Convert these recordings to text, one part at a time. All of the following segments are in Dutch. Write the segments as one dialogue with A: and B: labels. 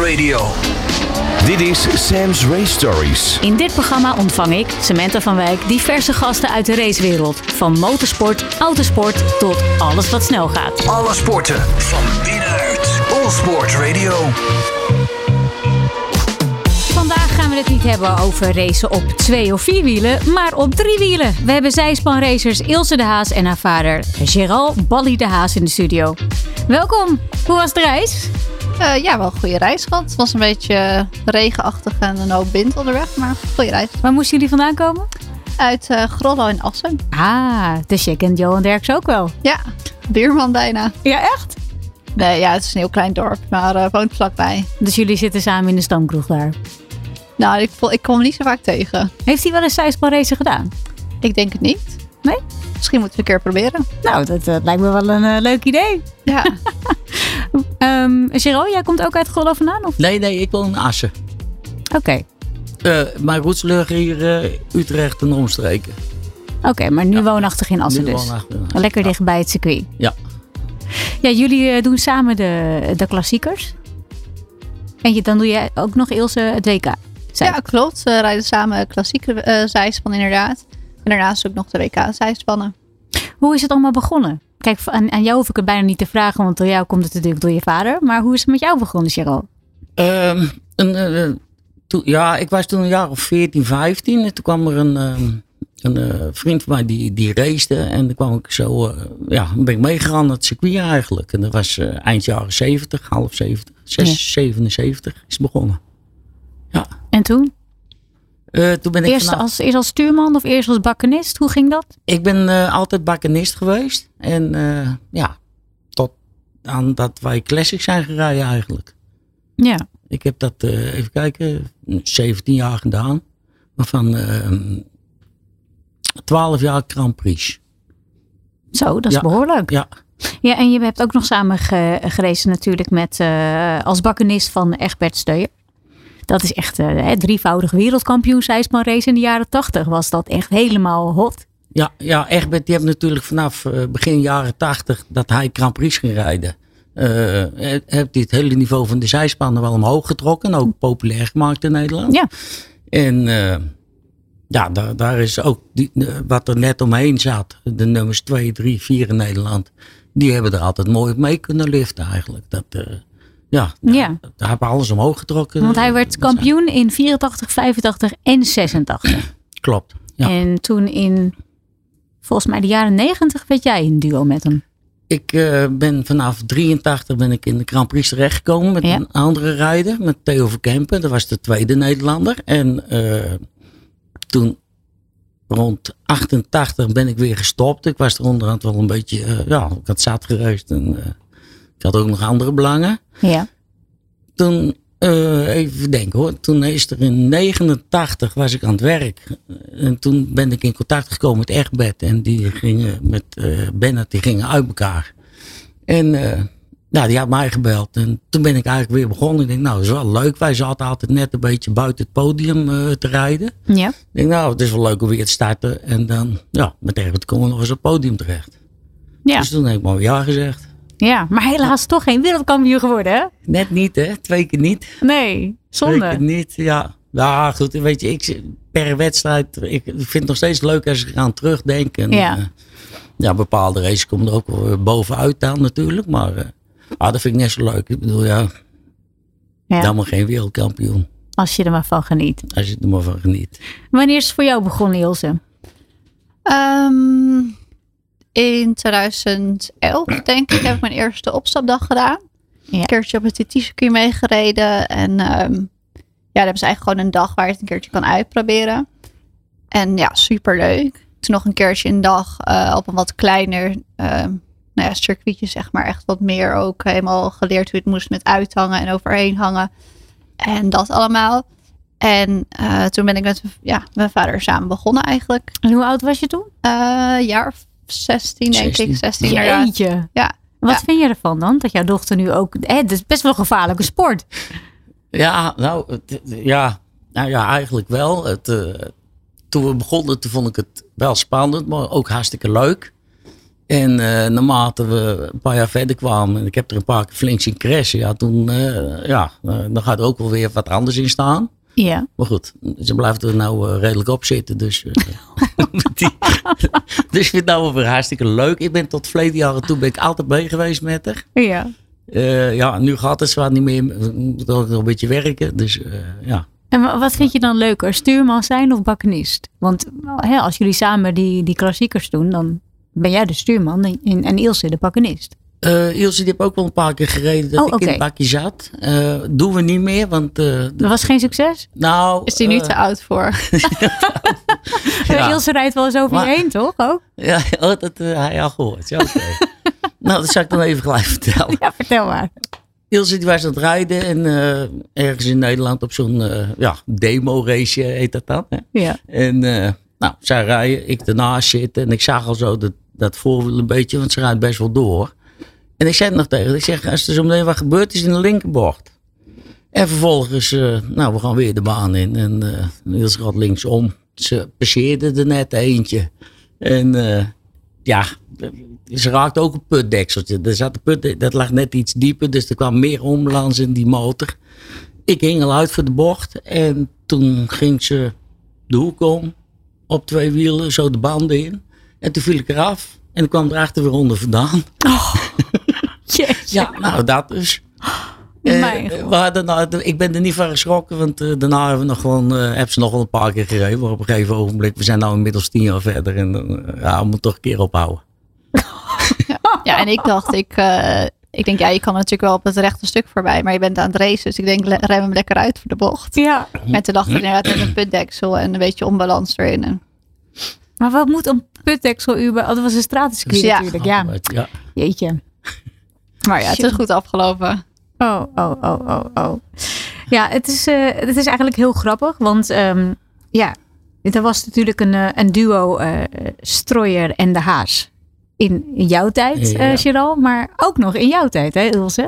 A: Radio. Dit is Sam's Race Stories.
B: In dit programma ontvang ik, Samantha van Wijk, diverse gasten uit de racewereld. Van motorsport, autosport tot alles wat snel gaat.
A: Alle sporten van binnenuit. All Sport Radio.
B: Vandaag gaan we het niet hebben over racen op twee of vier wielen, maar op drie wielen. We hebben zijspanracers Ilse de Haas en haar vader Gerald Bally de Haas in de studio. Welkom, hoe was de reis?
C: Eh, ja, wel een goede reis gehad. Het was een beetje eh, regenachtig en een hoop wind onderweg, maar goede reis.
B: Waar moesten jullie vandaan komen?
C: Uit eh Grollo in Assen.
B: Ah, dus je kent Johan Derks ook wel.
C: Ja, buurman bijna.
B: Ja, echt?
C: Nee, ja, het is een heel klein dorp, maar eh, woont vlakbij.
B: Dus jullie zitten samen in de stamkroeg daar.
C: Nou, ik, vo- ik kwam hem niet zo vaak tegen.
B: Heeft hij wel eens zijspanracen gedaan?
C: Ik denk het niet.
B: Nee?
C: Misschien moeten we een keer proberen.
B: Nou, dat, eh, lijkt me wel een eh, leuk idee.
C: Ja,
B: Ehm Giro, jij komt ook uit Grollo vandaan? Of?
D: Nee, nee, ik woon in Assen.
B: Oké,
D: Eh, mijn roots liggen hier eh, Utrecht en omstreken.
B: oké, maar nu woonachtig in Assen
D: Nu
B: dus.
D: woonachtig.
B: Lekker
D: Ja.
B: dicht bij het circuit.
D: Ja.
B: Ja, jullie eh, doen samen de, de klassiekers. En je, dan doe je ook nog Ilse het WK. Zij-
C: ja klopt. We rijden samen klassieke eh zijspan inderdaad. En daarnaast ook nog de WK-zijspannen.
B: Hoe is het allemaal begonnen? Kijk, aan, aan jou hoef ik het bijna niet te vragen, want door jou komt het natuurlijk door je vader. Maar hoe is het met jou begonnen, Cheryl?
D: Ehm, een, eh, toen- ja, ik was toen een jaar of 14, 15. En toen kwam er een, ehm, een eh, vriend van mij die, die racede. En toen kwam ik zo, eh, ja, ben ik meegegaan naar het circuit eigenlijk. En dat was eh, eind jaren 70, half 70, 6,
B: Ja.
D: 77 is het begonnen.
B: En toen?
D: Eh, toen ben ik
B: Eerst
D: vanaf-
B: als, eerst als stuurman of eerst als bakkenist? Hoe ging dat?
D: Ik ben eh, altijd bakkenist geweest. En eh, ja, tot aan dat wij classic zijn gereden eigenlijk.
B: Ja.
D: Ik heb dat, eh, even kijken, 17 jaar gedaan. Waarvan eh, 12 jaar Grand Prix.
B: Zo, dat is
D: Ja.
B: behoorlijk.
D: Ja,
B: Ja, en je hebt ook nog samen ge- gereisd natuurlijk met eh, als bakkenist van Egbert Steuer. Dat is echt eh, hè, drievoudig wereldkampioen race in de jaren tachtig. Was dat echt helemaal hot.
D: ja, ja Egbert die heeft natuurlijk vanaf eh, begin jaren 80 dat hij Grand Prix ging rijden. eh, he- heeft hij het hele niveau van de zijspannen wel omhoog getrokken. En ook populair gemaakt in Nederland.
B: Ja,
D: En eh, ja, daar, daar is ook die, eh, wat er net omheen zat, de nummers 2, 3, 4 in Nederland, die hebben er altijd mooi op mee kunnen liften eigenlijk. Dat, eh, ja,
B: Ja.
D: daar hebben we alles omhoog getrokken.
B: want hij werd kampioen in 84, 85 en 86.
D: Klopt. Ja.
B: En toen in, volgens mij de jaren 90 werd jij in duo met hem.
D: Ik eh, ben vanaf 83 ben ik in de Grand Prix terechtgekomen met
B: Ja.
D: een andere rijder, met Theo Verkempen. Dat was de tweede Nederlander. En eh, toen rond 88 ben ik weer gestopt. Ik was er onderhand wel een beetje, eh, ja, ik had zat gereisd en eh, ik had ook nog andere belangen.
B: Ja.
D: Toen, eh, even denken hoor, toen is er in 89 was ik aan het werk. En toen ben ik in contact gekomen met Egbert en die gingen met eh Bennett, die gingen uit elkaar. En eh, nou, die had mij gebeld en toen ben ik eigenlijk weer begonnen. Ik denk nou, dat is wel leuk. Wij zaten altijd net een beetje buiten het podium eh, te rijden.
B: Ja.
D: Ik denk nou, het is wel leuk om weer te starten. En dan, ja, met Egbert komen we nog eens op het podium terecht.
B: Ja.
D: Dus toen heb ik maar ja gezegd.
B: ja, maar helaas toch geen wereldkampioen geworden hè?
D: Net niet hè, twee keer niet.
B: Nee,
D: Weet
B: zonde.
D: het niet, ja. Ja, goed, weet je, ik, per wedstrijd, ik vind het nog steeds leuk als ik aan terugdenk. En,
B: Ja.
D: eh, ja, bepaalde races komen er ook wel weer bovenuit aan natuurlijk, maar eh, ah, dat vind ik net zo leuk. Ik bedoel, ja, dan
B: Ja,
D: maar geen wereldkampioen,
B: als je er maar van geniet.
D: als je er maar van geniet.
B: Wanneer is het voor jou begonnen, Ilse?
C: Ehm, in 2011, denk ik, heb ik mijn eerste opstapdag gedaan.
B: Ja.
C: Een keertje op het TT-circuit meegereden. En ehm, ja, dan hebben ze eigenlijk gewoon een dag waar je het een keertje kan uitproberen. En ja, superleuk. Toen nog een keertje een dag eh, op een wat kleiner ehm, nou ja, circuitje, zeg maar. Echt wat meer ook helemaal geleerd hoe het moest met uithangen en overheen hangen. En dat allemaal. En eh, toen ben ik met ja, mijn vader samen begonnen eigenlijk.
B: En hoe oud was je toen?
C: Eh, jaar of 16, denk
D: 16.
C: ik. 16 jaar.
B: Jeetje.
C: Ja.
B: Wat
C: Ja.
B: vind je ervan dan? Dat jouw dochter nu ook... Hè, het is best wel een gevaarlijke sport.
D: Ja, nou, het- ja, nou ja, eigenlijk wel. Het, eh, toen we begonnen, toen vond ik het wel spannend, maar ook hartstikke leuk. En eh, naarmate we een paar jaar verder kwamen, en ik heb er een paar keer flink zien crashen, ja, toen, eh, ja, eh, dan gaat er ook wel weer wat anders in staan.
C: Ja.
D: Maar goed, ze blijft er nou eh, redelijk op zitten. Dus, eh, die- dus ik vind het nou wel weer hartstikke leuk. Ik ben tot verleden jaren toe ben ik altijd mee geweest met haar.
C: Ja.
D: Eh, ja, nu gaat het zwaar niet meer. We moeten ook nog een beetje werken. Dus eh, ja.
B: En wa- wat vind je dan leuker, stuurman zijn of bakkenist? Want hè, als jullie samen die, die klassiekers doen, dan ben jij de stuurman en- en, en Ilse de bakkenist.
D: Eh Ilse, die heb ook wel een paar keer gereden dat
B: Oh,
D: ik in
B: oké.
D: het bakje zat. Eh, doen we niet meer, want... eh, de-
B: Dat was geen succes.
D: nou,
C: Is die nu
D: eh,
C: te oud voor?
D: Ja.
B: Ilse rijdt wel eens over
D: Maar-
B: je heen, toch? Ook?
D: Ja, oh, dat eh, hij al gehoord. Ja, oké. nou, dat zal ik dan even gelijk vertellen.
B: Ja, vertel maar.
D: Ilse die was aan het rijden en eh, ergens in Nederland op zo'n eh, ja, demo-race eh, heet dat dan. Hè?
B: Ja.
D: En eh, nou, zij rijden, ik ernaast zitten en ik zag al zo dat, dat voorwiel een beetje, want ze rijdt best wel door. En ik zei het nog tegen haar, ik zeg, als er zo meteen wat gebeurt, is het in de linkerbord. En vervolgens, eh, nou, we gaan weer de baan in en eh Ilse gaat linksom. Ze passeerde er net eentje. En eh, ja, ze raakte ook een putdekseltje. Er zat een put, dat lag net iets dieper, dus er kwam meer ombalans in die motor. Ik hing al uit voor de bocht en toen ging ze de hoek om, op twee wielen, zo de banden in. En toen viel ik eraf en ik kwam erachter weer onder vandaan.
B: Jeetje.
D: Ja, nou dat dus. Eh,
B: Mijn god.
D: we hadden nou- ik ben er niet van geschrokken, want eh, daarna hebben we nog gewoon, eh, hebben ze nog wel een paar keer gereden. Maar op een gegeven ogenblik, we zijn nou inmiddels tien jaar verder en eh, ja, we moeten toch een keer ophouden.
C: Ja, en ik dacht, ik, eh, ik denk, ja, je kan natuurlijk wel op het rechte stuk voorbij, maar je bent aan het racen. Dus ik denk, le- rem hem lekker uit voor de bocht.
B: Ja.
C: En toen dacht ik
B: Hm.
C: inderdaad met een putdeksel en een beetje onbalans erin. En,
B: Maar wat moet een putdeksel uber? Oh, dat was een stratencircuit
C: Ja.
B: natuurlijk. Ja.
D: Nou, ja.
B: Jeetje.
C: maar ja, het is goed afgelopen.
B: Oh, oh, oh, oh, oh. Ja, het is, eh, het is eigenlijk heel grappig. Want ehm, ja, er was natuurlijk een, eh, een duo eh Strooier en De Haas. In, in jouw tijd, eh
D: Ja.
B: Gerald, maar ook nog in jouw tijd, hè Ilse?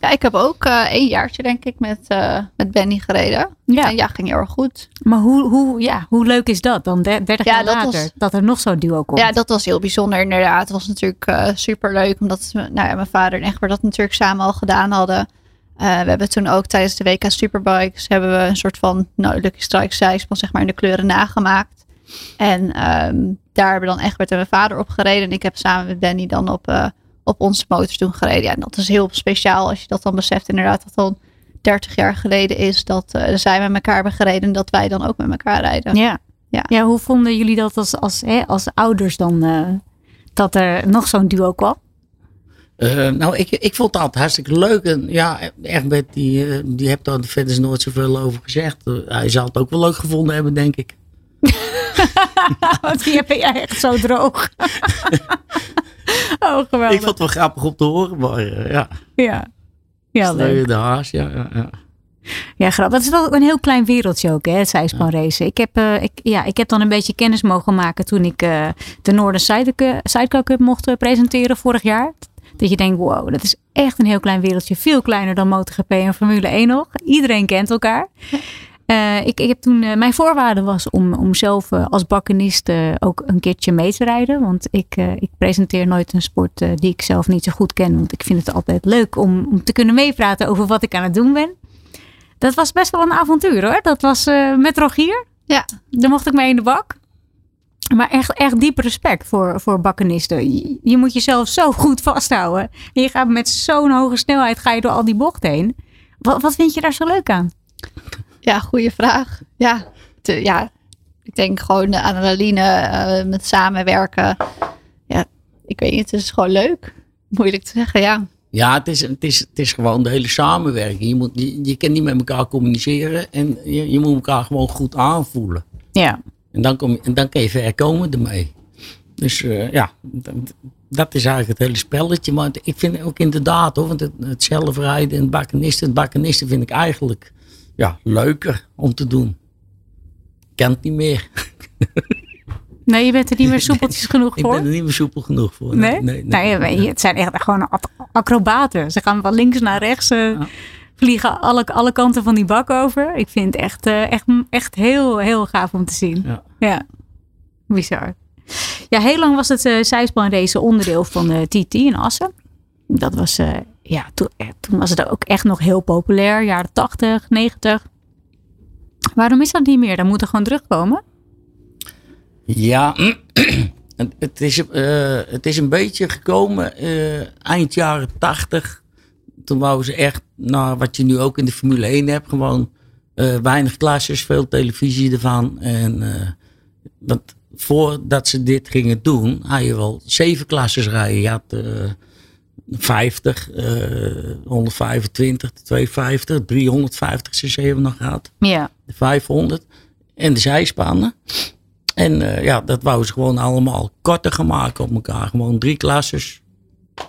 C: Ja, ik heb ook eh één jaartje, denk ik, met, eh, met Benny gereden.
B: Ja.
C: En ja, ging heel erg goed.
B: Maar hoe, hoe, ja, hoe leuk is dat dan, der- 30
C: Ja,
B: jaar
C: dat
B: later,
C: was-
B: dat er nog zo'n duo komt?
C: Ja, dat was heel bijzonder inderdaad. Het was natuurlijk super leuk, omdat we- nou ja, mijn vader en Egbert dat natuurlijk samen al gedaan hadden. Eh, we hebben toen ook tijdens de WK Superbikes hebben we een soort van nou, Lucky Strike zijspan zeg maar in de kleuren nagemaakt. En ehm, daar hebben dan Egbert en mijn vader op gereden. En ik heb samen met Danny dan op, eh, op onze motors toen gereden. Ja, en dat is heel speciaal als je dat dan beseft inderdaad dat dan 30 jaar geleden is dat eh, zij met elkaar hebben gereden en dat wij dan ook met elkaar rijden.
B: Ja. Ja.
C: Ja.
B: hoe vonden jullie dat als, als, hè, als ouders dan, eh, dat er nog zo'n duo kwam?
D: Eh, nou, ik, ik vond het altijd hartstikke leuk. En ja, Egbert, die, eh, die hebt daar verder nooit zoveel over gezegd. Eh, Hij zal het ook wel leuk gevonden hebben, denk ik.
B: Want die heb jij echt zo droog. oh, geweldig.
D: Ik vond het wel grappig om te horen, maar eh, ja.
B: Ja. Ja,
D: Sneu
B: leuk.
D: in de haas, ja. ja, ja.
B: Ja, grappig. Dat is wel een heel klein wereldje ook, hè, het zijspanracen. Ik, heb, eh, ik, ja, ik heb dan een beetje kennis mogen maken toen ik eh, de Noorden Sideca- Sidecar Cup mocht eh, presenteren vorig jaar. Dat je denkt, wow, dat is echt een heel klein wereldje. Veel kleiner dan MotoGP en Formule 1 nog. Iedereen kent elkaar. Eh, ik, ik heb toen, eh, mijn voorwaarde was om, om zelf eh, als bakkenist eh, ook een keertje mee te rijden. Want ik, eh, ik presenteer nooit een sport eh, die ik zelf niet zo goed ken. Want ik vind het altijd leuk om, om te kunnen meepraten over wat ik aan het doen ben. Dat was best wel een avontuur hoor. Dat was eh, met Rogier.
C: Ja.
B: Daar mocht ik mee in de bak. Maar echt, echt diep respect voor, voor bakkenisten. Je, je moet jezelf zo goed vasthouden. En je gaat met zo'n hoge snelheid ga je door al die bochten heen. Wat, wat vind je daar zo leuk aan?
C: Ja, goede vraag. Ja, te- ja, ik denk gewoon de adrenaline, eh, met samenwerken. Ja, ik weet niet, het is gewoon leuk. Moeilijk te zeggen, ja.
D: Ja, het is, het, is, het is gewoon de hele samenwerking. Je, moet, je, je kan niet met elkaar communiceren en je, je moet elkaar gewoon goed aanvoelen.
B: Ja,
D: En dan, kom, je- en dan kan je ver komen ermee. Dus eh, ja, dat, dat is eigenlijk het hele spelletje. Maar het- ik vind ook inderdaad hoor, want het, het zelfrijden en het bakkenisten. Het bakkenisten vind ik eigenlijk ja, leuker om te doen. Ik kan het niet meer.
B: Nee, je bent er niet meer soepeltjes genoeg
D: Ik
B: voor.
D: ben er niet meer soepel genoeg voor.
B: nee? Nou, je- je- het zijn echt gewoon ac- acrobaten. Ze gaan van links naar rechts. eh, Vliegen alle, alle kanten van die bak over. Ik vind het echt, eh, echt, echt heel, heel gaaf om te zien.
D: Ja.
B: Ja, bizar. Ja, heel lang was het eh zijspanrace onderdeel van de TT in Assen. Dat was, eh, ja, to- eh, toen was het ook echt nog heel populair. Jaren 80, 90. Waarom is dat niet meer? Dan moet er gewoon terugkomen.
D: Ja, het is, eh, het is een beetje gekomen eh, eind jaren tachtig. Toen wouden ze echt, nou, wat je nu ook in de Formule 1 hebt, gewoon eh, weinig klasjes, veel televisie ervan. En, eh, want voordat ze dit gingen doen, had je wel zeven klasses rijden. Je had eh, 50, eh 125, 250, 350 cc hebben we nog gehad
B: Ja.
D: de 500 en de zijspannen. En eh, ja, dat wou ze gewoon allemaal korter gaan maken op elkaar. Gewoon drie klasses.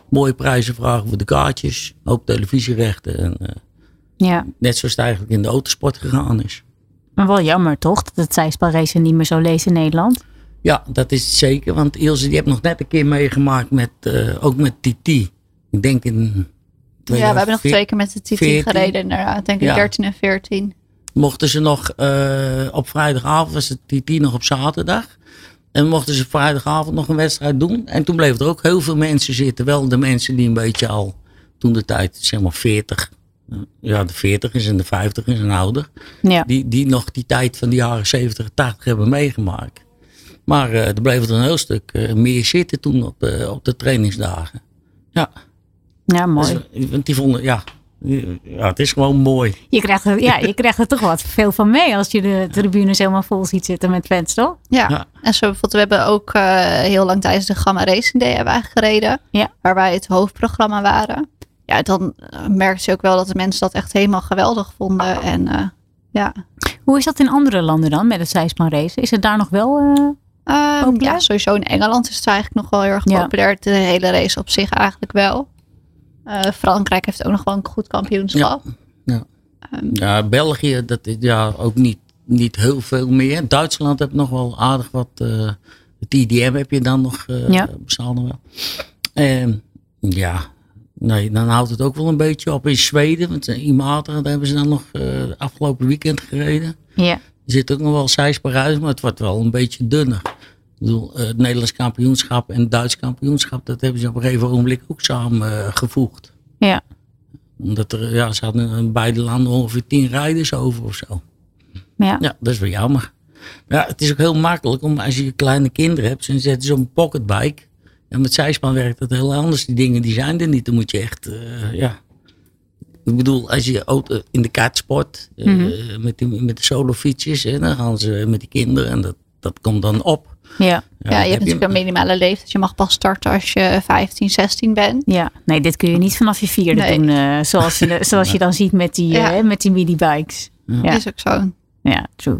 D: Mooie prijzen vragen voor de kaartjes. Ook televisierechten. En, eh,
B: ja.
D: net zoals het eigenlijk in de autosport gegaan is.
B: Maar wel jammer toch dat het zijspanrace niet meer zo leest in Nederland.
D: Ja, dat is het zeker. Want Ilse, die heeft nog net een keer meegemaakt met, eh, ook met TT. Ik denk in...
C: Ja, we hebben nog twee keer met de TT
D: 14.
C: gereden inderdaad. Denk ik
D: Ja.
C: 13 en 14.
D: mochten ze nog eh, op vrijdagavond, was het die tien nog op zaterdag. En mochten ze vrijdagavond nog een wedstrijd doen. En toen bleven er ook heel veel mensen zitten. Wel de mensen die een beetje al toen de tijd, zeg maar 40. eh, Ja, de 40 is en de 50 is en ouder.
B: Ja.
D: Die, die nog die tijd van de jaren 70, 80 hebben meegemaakt. Maar eh, er bleven er een heel stuk eh, meer zitten toen op, eh, op de trainingsdagen. Ja,
B: Ja, mooi.
D: dus, want die vonden, ja, die- ja, het is gewoon mooi.
B: Je krijgt, er, ja, je krijgt er toch wat veel van mee als je de tribunes helemaal vol ziet zitten met fans, toch?
C: Ja.
D: Ja.
C: en zo bijvoorbeeld, we hebben ook eh, heel lang tijdens de Gamma Racing Day hebben we eigenlijk gereden.
B: Ja.
C: Waar wij het hoofdprogramma waren. Ja, dan eh, merkte je ook wel dat de mensen dat echt helemaal geweldig vonden. En eh, ja.
B: Hoe is dat in andere landen dan met het zijspanrace? Is het daar nog wel... eh,
C: Ehm,
B: Populair?
C: ja, sowieso in Engeland is het eigenlijk nog wel heel erg
B: Ja.
C: populair. De hele race op zich eigenlijk wel. Eh, Frankrijk heeft ook nog wel een goed kampioenschap.
D: Ja, België, dat is ja, ook niet, niet heel veel meer. Duitsland heb nog wel aardig wat. eh, het IDM heb je dan nog. eh
B: Ja.
D: bestaat nog wel. En, ja, nee, dan houdt het ook wel een beetje op. In Zweden, want in Imater, daar hebben ze dan nog eh, afgelopen weekend gereden.
B: Ja.
D: Er zit ook nog wel zijsparuis, maar het wordt wel een beetje dunner. Ik bedoel, eh, het Nederlands kampioenschap en het Duits kampioenschap, dat hebben ze op een gegeven ogenblik ook samengevoegd.
B: Ja.
D: Omdat er, ja, ze hadden in beide landen ongeveer tien rijders over of zo.
B: Ja.
D: Ja, dat is wel jammer. Maar ja, het is ook heel makkelijk om als je kleine kinderen hebt, ze zetten ze op een pocketbike. En met zijspan werkt dat heel anders. Die dingen die zijn er niet. Dan moet je echt, eh, ja. Ik bedoel, als je auto eh, in de kaartsport eh,
C: Mhm.
D: met, die, met de solofietsjes, hè, dan gaan ze met die kinderen en dat, dat komt dan op.
B: ja.
C: Ja, je hebt natuurlijk een minimale leeftijd. Je mag pas starten als je 15, 16 bent.
B: Ja, nee, dit kun je niet vanaf je vierde
C: Nee.
B: doen. eh, zoals je, zoals je dan ziet met die,
C: Ja.
B: eh, met die mini-bikes. Ja.
C: Is ook zo.
B: Ja, true.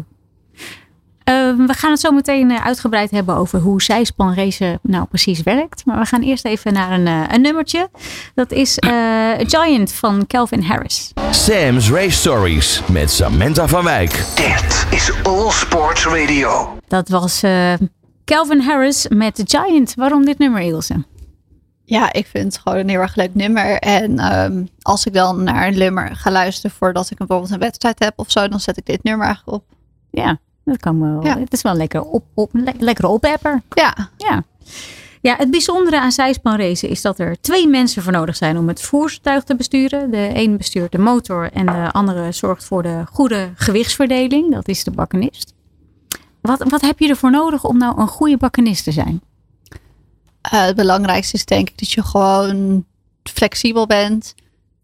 B: Ehm, we gaan het zo meteen eh, uitgebreid hebben over hoe zijspanracen nou precies werkt. Maar we gaan eerst even naar een, eh, een nummertje. Dat is eh, Giant van Calvin Harris.
A: Sam's Race Stories met Samantha van Wijk.
E: Dit is All Sports Radio.
B: Dat was eh, Calvin Harris met Giant. Waarom dit nummer, Ilse?
C: Ja, ik vind het gewoon een heel erg leuk nummer. En ehm, als ik dan naar een nummer ga luisteren voordat ik bijvoorbeeld een wedstrijd heb of zo, dan zet ik dit nummer eigenlijk op.
B: Ja, dat kan wel.
C: Ja.
B: Het is wel een lekker op, op, le- lekkere opepper.
C: Ja,
B: Ja. Ja, het bijzondere aan zijspanracen is dat er twee mensen voor nodig zijn om het voertuig te besturen. De een bestuurt de motor en de andere zorgt voor de goede gewichtsverdeling. Dat is de bakkenist. Wat, wat heb je ervoor nodig om nou een goede bakkenist te zijn?
C: eh, het belangrijkste is denk ik dat je gewoon flexibel bent.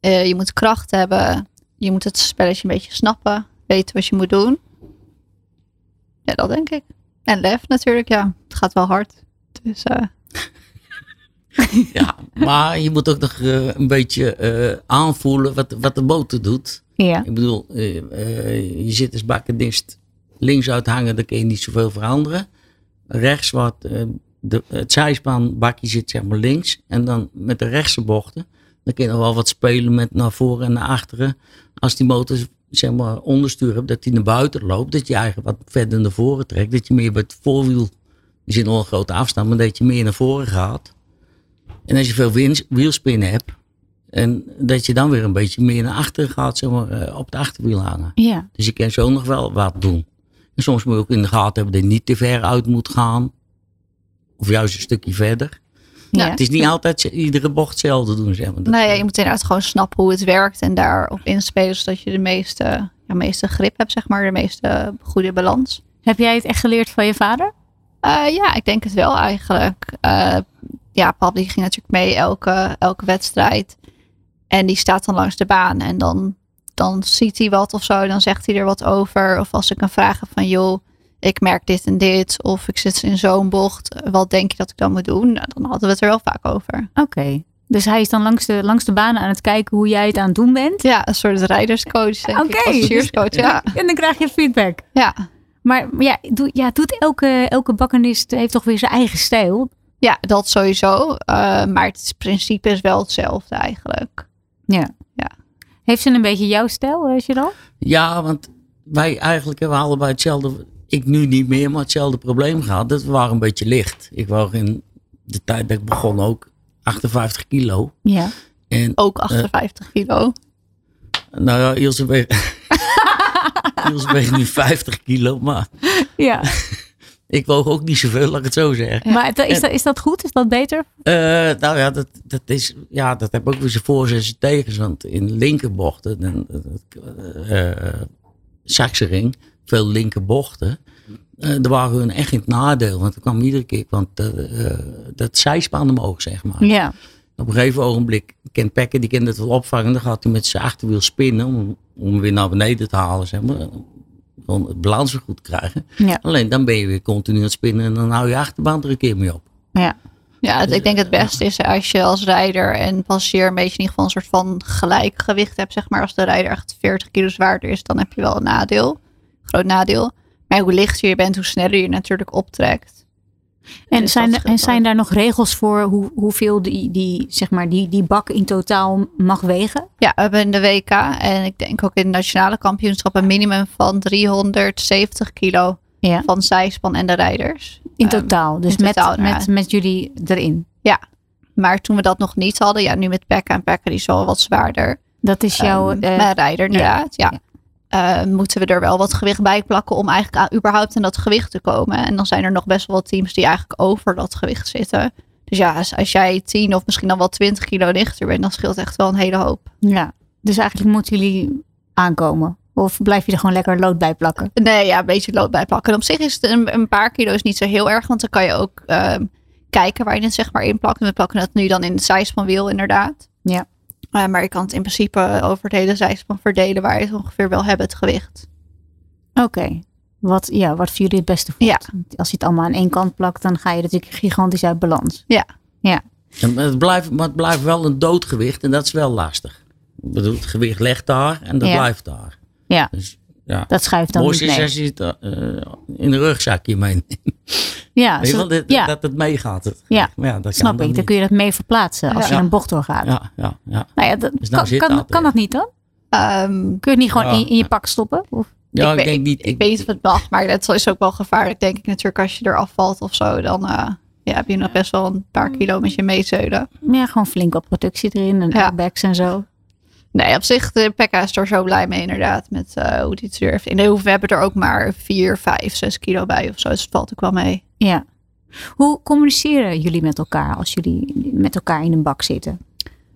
C: Eh, je moet kracht hebben. Je moet het spelletje een beetje snappen. Weten wat je moet doen. Ja, dat denk ik. En lef natuurlijk, ja. Het gaat wel hard. Dus eh,
D: Ja, maar je moet ook nog eh, een beetje eh, aanvoelen wat, wat de motor doet.
B: Ja,
D: Ik bedoel, eh, eh, je zit als bakkendist links uithangen, daar kun je niet zoveel veranderen. Rechts wat, eh, de, het zijspanbakje zit zeg maar links. En dan met de rechtse bochten, dan kun je nog wel wat spelen met naar voren en naar achteren. Als die motor zeg maar onderstuur hebt, dat die naar buiten loopt. Dat je eigenlijk wat verder naar voren trekt. Dat je meer bij het voorwiel, er zit nog een grote afstand, maar dat je meer naar voren gaat. En als je veel wiels- wielspinnen hebt, en dat je dan weer een beetje meer naar achter gaat, zeg maar, eh, op het achterwiel hangen.
B: ja,
D: Dus je kan zo nog wel wat doen. En soms moet je ook in de gaten hebben dat je niet te ver uit moet gaan. Of juist een stukje verder.
C: Ja.
D: Het is niet altijd z- iedere bocht hetzelfde doen, zeg maar. Dat-
C: Nou ja, je moet inderdaad gewoon snappen hoe het werkt en daarop inspelen zodat je de meeste, ja, meeste grip hebt, zeg maar, de meeste goede balans.
B: Heb jij het echt geleerd van je vader?
C: Eh, ja, ik denk het wel eigenlijk. Eh, ja, Pab die ging natuurlijk mee elke, elke wedstrijd. En die staat dan langs de baan. En dan, dan ziet hij wat of zo. Dan zegt hij er wat over. Of als ik een vraag heb van joh, ik merk dit en dit. Of ik zit in zo'n bocht. Wat denk je dat ik dan moet doen? Nou, dan hadden we het er wel vaak over.
B: Oké. Dus hij is dan langs de, langs de banen aan het kijken hoe jij het aan het doen bent.
C: Ja, een soort rijderscoach. denk ik.
B: Oké.
C: Adviseurscoach, ja.
B: En dan krijg je feedback.
C: ja.
B: Maar ja, doe, ja doet elke, elke bakkenist eh, heeft toch weer zijn eigen stijl.
C: Ja, dat sowieso. Eh, maar het principe is wel hetzelfde eigenlijk.
B: Ja.
C: Ja.
B: Heeft ze een beetje jouw stijl, eh, Gerald?
D: Ja, want wij eigenlijk hebben allebei hetzelfde, ik nu niet meer, maar hetzelfde probleem gehad. Dat we waren een beetje licht. Ik was in de tijd dat ik begon ook 58 kilo.
B: Ja.
D: En
C: Ook 58 kilo.
D: nou ja, Ilse weegt, Ilse weegt nu 50 kilo, maar
B: ja.
D: ik woog ook niet zoveel, laat ik het zo zeggen.
B: Maar het- is dat, is dat goed? Is dat beter?
D: Eh, nou ja dat, dat is, ja, dat heb ook weer zijn voor's en zijn tegens. Want in linkerbochten, dan, eh, eh, Saksering, veel linkerbochten. eh daar waren hun echt in het nadeel. Want dat kwam iedere keer, want eh, eh, dat zijspan omhoog, zeg maar.
B: Ja.
D: Op een gegeven ogenblik, Ken Pekker, die kende het wel opvangen. Dan gaat hij met zijn achterwiel spinnen om, om hem weer naar beneden te halen, zeg maar. Om het balans weer goed te krijgen.
B: Ja.
D: Alleen dan ben je weer continu aan het spinnen en dan hou je achterbaan er een keer mee op.
B: ja.
C: Ja, het- ik denk het beste is als je als rijder en passagier een beetje in ieder geval een soort van gelijk gewicht hebt. Zeg maar als de rijder echt 40 kilo zwaarder is, dan heb je wel een nadeel. Groot nadeel. Maar hoe lichter je bent, hoe sneller je natuurlijk optrekt.
B: En
C: Dus
B: zijn,
C: dat
B: er- en
C: scheelt
B: zijn daar nog regels voor hoe, hoeveel die, die, zeg maar, die, die bak in totaal mag wegen?
C: Ja, we hebben in de WK en ik denk ook in de nationale kampioenschap een minimum van 370 kilo
B: Ja.
C: van zijspan en de rijders.
B: In
C: Ehm,
B: totaal. Dus
C: in totaal,
B: met, met,
C: ja.
B: met jullie erin.
C: Ja, maar toen we dat nog niet hadden, ja, nu met Pekka en Pekka die is wel wat zwaarder.
B: Dat is jouw.
C: Ehm,
B: eh,
C: mijn rijder inderdaad, ja. Eh, moeten we er wel wat gewicht bij plakken om eigenlijk aan, überhaupt aan dat gewicht te komen. En dan zijn er nog best wel wat teams die eigenlijk over dat gewicht zitten. Dus ja, als, als jij 10 of misschien dan wel 20 kilo lichter bent, dan scheelt echt wel een hele hoop.
B: ja. Dus eigenlijk moeten jullie aankomen. Of blijf je er gewoon lekker lood bij plakken?
C: Nee, ja, een beetje lood bijplakken. En op zich is het een, een paar kilo's niet zo heel erg. Want dan kan je ook ehm, kijken waar je het zeg maar in plakt. En we plakken het nu dan in het zijspanwiel inderdaad.
B: Ja.
C: Eh, maar je kan het in principe over het hele zijspan verdelen waar je het ongeveer wil hebben, het gewicht.
B: Oké. Wat, ja, wat voor jullie het beste voelt.
C: Ja.
B: Als je het allemaal aan één kant plakt, dan ga je natuurlijk gigantisch uit balans.
C: Ja,
B: Ja.
D: Ja, maar, het blijft, maar het blijft wel een doodgewicht en dat is wel lastig. Ik bedoel, het gewicht legt daar en dat
B: Ja.
D: blijft daar.
B: Ja.
D: Dus ja,
B: Dat schuift
D: het
B: dan
D: mooiste
B: niet
D: is
B: mee.
D: als je het eh, in de rugzakje meeneemt.
B: Ja,
D: Weet je
B: zo-
D: wel, dat,
B: ja
D: dat het meegaat. Het
B: Ja.
D: gewicht. Maar ja, dat
B: snap
D: kan
B: ik. Dan
D: niet.
B: kun je dat mee verplaatsen als
D: Ja.
B: er een bocht doorgaat.
D: Ja, ja, ja.
B: Nou ja, dat,
D: Dus nou
B: kan,
D: zit
B: kan,
D: dat
B: kan
D: weer.
B: dat niet dan?
C: Ehm,
B: Kun je het niet gewoon
D: Ja.
B: in, in je pak stoppen? Of,
D: ja ik,
C: weet-
D: denk niet.
C: Ik, weet niet of het mag, maar dat is ook wel gevaarlijk, denk ik natuurlijk. Als je eraf valt of zo, dan eh, ja, Mm. heb je nog best wel een paar kilo met je meezeulen.
B: nou ja, gewoon flink wat productie erin en
C: Ja.
B: airbags en zo.
C: Nee, op zich, de Pekka is er zo blij mee inderdaad, met eh, hoe die het durft. In de hoef, we hebben er ook maar 4, 5, 6 kilo bij of zo, dus het valt ook wel mee.
B: Ja. Hoe communiceren jullie met elkaar als jullie met elkaar in een bak zitten?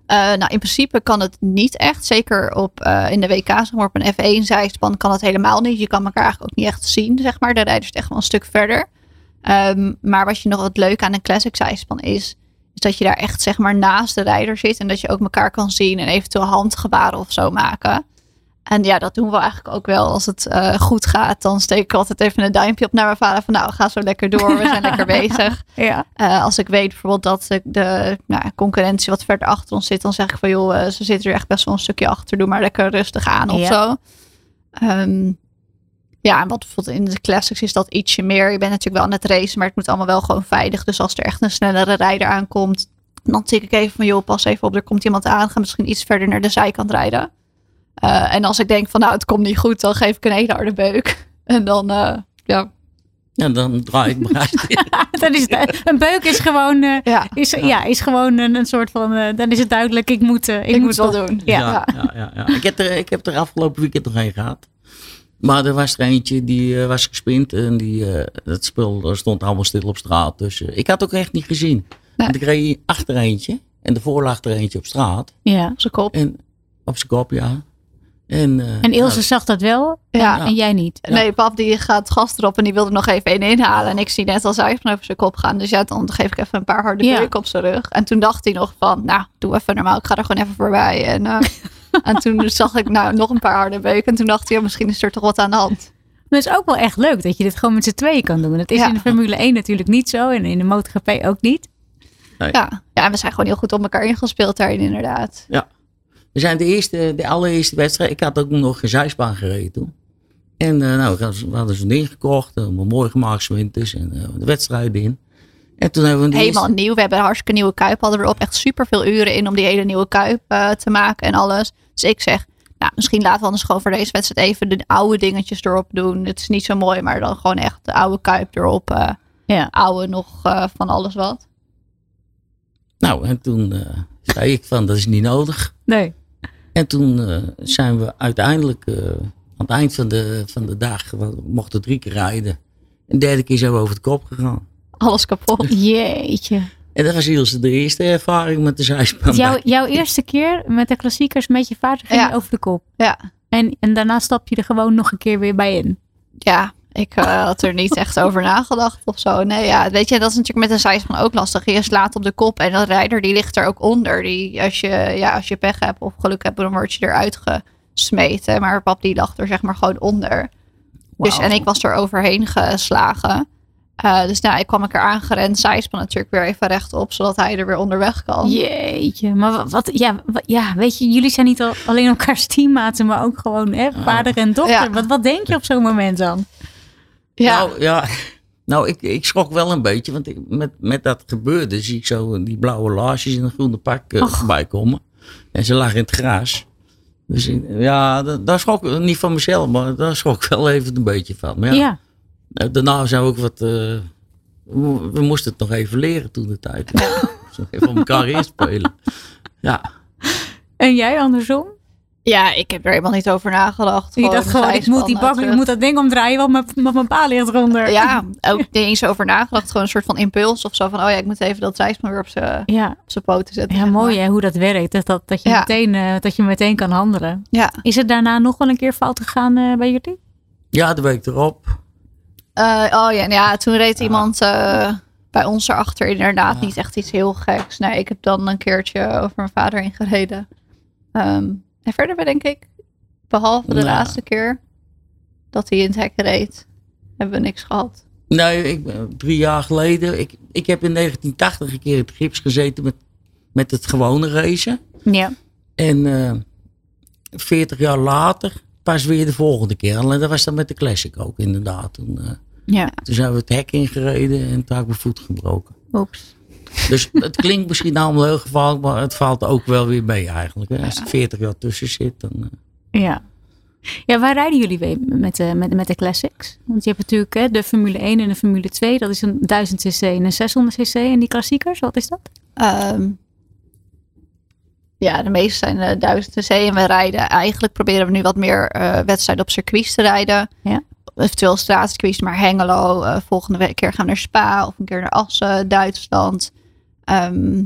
C: Eh, nou, in principe kan het niet echt. Zeker op, eh, in de WK, zeg maar, op een F1-zijspan kan dat helemaal niet. Je kan elkaar eigenlijk ook niet echt zien, zeg maar. De rijders het echt wel een stuk verder. Ehm, maar wat je nog wat leuk aan een classic zijspan is, is dat je daar echt zeg maar naast de rijder zit. En dat je ook elkaar kan zien en eventueel handgebaren of zo maken. En ja, dat doen we eigenlijk ook wel. Als het eh, goed gaat, dan steek ik altijd even een duimpje op naar mijn vader. Van nou, ga zo lekker door, we zijn lekker bezig.
B: Ja.
C: Eh, als ik weet bijvoorbeeld dat de, de nou, ja, concurrentie wat verder achter ons zit, dan zeg ik van joh, eh, ze zitten er echt best wel een stukje achter. Doe maar lekker rustig aan of
B: Ja.
C: zo. Ehm, ja, en wat bijvoorbeeld in de classics is dat ietsje meer. Je bent natuurlijk wel aan het racen, maar het moet allemaal wel gewoon veilig. Dus als er echt een snellere rijder aankomt, dan tik ik even van joh, pas even op, er komt iemand aan. Ga misschien iets verder naar de zijkant rijden. Eh, en als ik denk van nou, het komt niet goed, dan geef ik een hele harde beuk. En dan, eh, ja.
D: En dan draai ik me uit.
B: Dan is het, een beuk is gewoon, eh,
C: Ja.
B: is, ja, is gewoon een, een soort van. eh, dan is het duidelijk, ik moet, eh, ik
C: Ik
B: moet
C: moet wel
B: stoppen.
C: doen.
B: Ja.
D: ja, ja, ja, ja. Ik, heb er, ik heb er afgelopen weekend nog een gehad. Maar er was er eentje die eh, was gespind en die, eh, dat spul eh, stond allemaal stil op straat. Dus eh, ik had ook echt niet gezien.
C: Nee.
D: Want ik reed achter eentje en daarvoor lag er eentje op straat.
B: Ja.
C: Zijn kop.
D: En op zijn kop, ja. En, eh,
B: En Ilse
D: nou,
B: zag dat wel
C: Ja.
B: en jij niet.
C: Nee, pap die gaat gas erop en die wilde nog even één inhalen. En ik zie net als hij van over zijn kop gaan. Dus ja, dan geef ik even een paar harde
B: Ja.
C: druk op zijn rug. En toen dacht hij nog van, nou, doe even normaal. Ik ga er gewoon even voorbij. En, eh, en toen zag ik nou nog een paar harde beuken. En toen dacht hij, ja, misschien is er toch wat aan de hand.
B: Maar het is ook wel echt leuk dat je dit gewoon met z'n tweeën kan doen. Dat is
C: Ja.
B: in de Formule 1 natuurlijk niet zo en in de MotoGP ook niet.
C: Ja. ja, en we zijn gewoon heel goed op elkaar ingespeeld daarin inderdaad.
D: Ja. We zijn de eerste, de allereerste wedstrijd. Ik had ook nog geen zijsbaan gereden toen. En eh, nou, we hadden- we hadden zo'n ding gekocht. eh, mooi gemaakt, 's winters En eh, de wedstrijd in. En toen hebben we de
C: Helemaal
D: eerste-
C: nieuw. We hebben een hartstikke nieuwe kuip. Hadden we erop echt super veel uren in om die hele nieuwe kuip eh, te maken en alles. Dus ik zeg, nou, misschien laten we anders gewoon voor deze wedstrijd even de oude dingetjes erop doen. Het is niet zo mooi, maar dan gewoon echt de oude kuip erop. eh,
B: Ja.
C: oude nog eh, van alles wat.
D: Nou, en toen eh, zei ik van, dat is niet nodig.
B: Nee.
D: En toen eh, zijn we uiteindelijk, eh, aan het eind van de, van de dag, we mochten drie keer rijden. En de derde keer zijn we over de kop gegaan.
C: Alles kapot.
B: Jeetje.
D: En dat was Ilse de eerste ervaring met de zijspan.
B: Jouw, jouw eerste keer met de klassiekers met je vader ging
C: Ja.
B: je over de kop.
C: Ja,
B: En, en daarna stap je er gewoon nog een keer weer bij in.
C: ja. Ik eh, had er niet echt over nagedacht of zo. Nee, ja. Weet je, dat is natuurlijk met een zijspan ook lastig. Je slaat op de kop en de rijder die ligt er ook onder. Die, als, je, ja, als je pech hebt of geluk hebt, dan word je eruit gesmeten. Maar pap die lag er zeg maar gewoon onder. Dus, en ik was er overheen geslagen. Eh, dus nou, ik kwam een keer aangerend. Zijspan natuurlijk weer even rechtop, zodat hij er weer onderweg kan.
B: Jeetje. Maar wa- wat, ja, wa- ja, weet je, jullie zijn niet al, alleen elkaars teammaten, maar ook gewoon hè, vader en dochter.
C: Ja.
B: Wat, wat denk je op zo'n moment dan?
C: Ja.
D: Nou, ja. Nou, ik, ik schrok wel een beetje, want ik, met, met dat gebeurde zie ik zo die blauwe laarsjes in een groene pak eh, voorbij komen. En ze lag in het gras. Dus ik- ja, da- daar schrok ik niet van mezelf, maar daar schrok ik wel even een beetje van. Maar ja,
B: Ja.
D: eh, daarna zijn we ook wat. eh, we, we moesten het nog even leren toen de tijd. Zo even op elkaar inspelen. Ja.
B: En jij andersom?
C: Ja, ik heb er helemaal niet over nagedacht.
B: Je dacht gewoon, ik moet, die
C: zijspan, eh,
B: bak, ik
C: terug.
B: moet dat ding omdraaien, want mijn, want mijn pa ligt eronder.
C: Ja, ook niet eens over nagedacht. Gewoon een soort van impuls of zo. Van, oh ja, ik moet even dat zijspan weer op zijn
B: ja.
C: op zijn poten zetten.
B: Ja,
C: zeg maar.
B: mooi hè, hoe dat werkt. Dat, dat, dat, je
C: Ja.
B: meteen, eh, dat je meteen kan handelen.
C: Ja.
B: Is het daarna nog wel een keer fout gegaan eh, bij jullie?
D: ja, de week erop.
C: Eh, oh ja, en ja, toen reed iemand eh, bij ons erachter inderdaad niet echt iets heel geks. Nee, ik heb dan een keertje over mijn vader heen gereden. Ehm, en verder ben denk ik, behalve de
D: Nou.
C: laatste keer dat hij in het hek reed, hebben we niks gehad.
D: Nee, ik, ben- drie jaar geleden. Ik, ik heb in 1980 een keer in het gips gezeten met, met het gewone racen.
B: Ja.
D: En eh 40 jaar later pas weer de volgende keer. Alleen dat was dan met de Classic ook, inderdaad. Toen, eh,
B: Ja.
D: toen zijn we het hek ingereden en toen heb ik mijn voet gebroken.
B: Oeps.
D: Dus het klinkt misschien allemaal heel gevaarlijk, maar het valt ook wel weer mee eigenlijk. Hè. Als er 40 jaar tussen zit, dan... eh,
B: Ja. Ja, waar rijden jullie mee met, eh, met, met de classics? Want je hebt natuurlijk hè, de Formule 1 en de Formule 2. Dat is een 1000 cc en een 600 cc. En die klassiekers, wat is dat?
C: Ehm, ja, de meeste zijn eh, 1000 cc en we rijden. Eigenlijk proberen we nu wat meer eh, wedstrijden op circuits te rijden.
B: Ja.
C: Eventueel straatcircuits, maar Hengelo. eh, volgende we- keer gaan we naar Spa of een keer naar Assen, Duitsland. Ehm,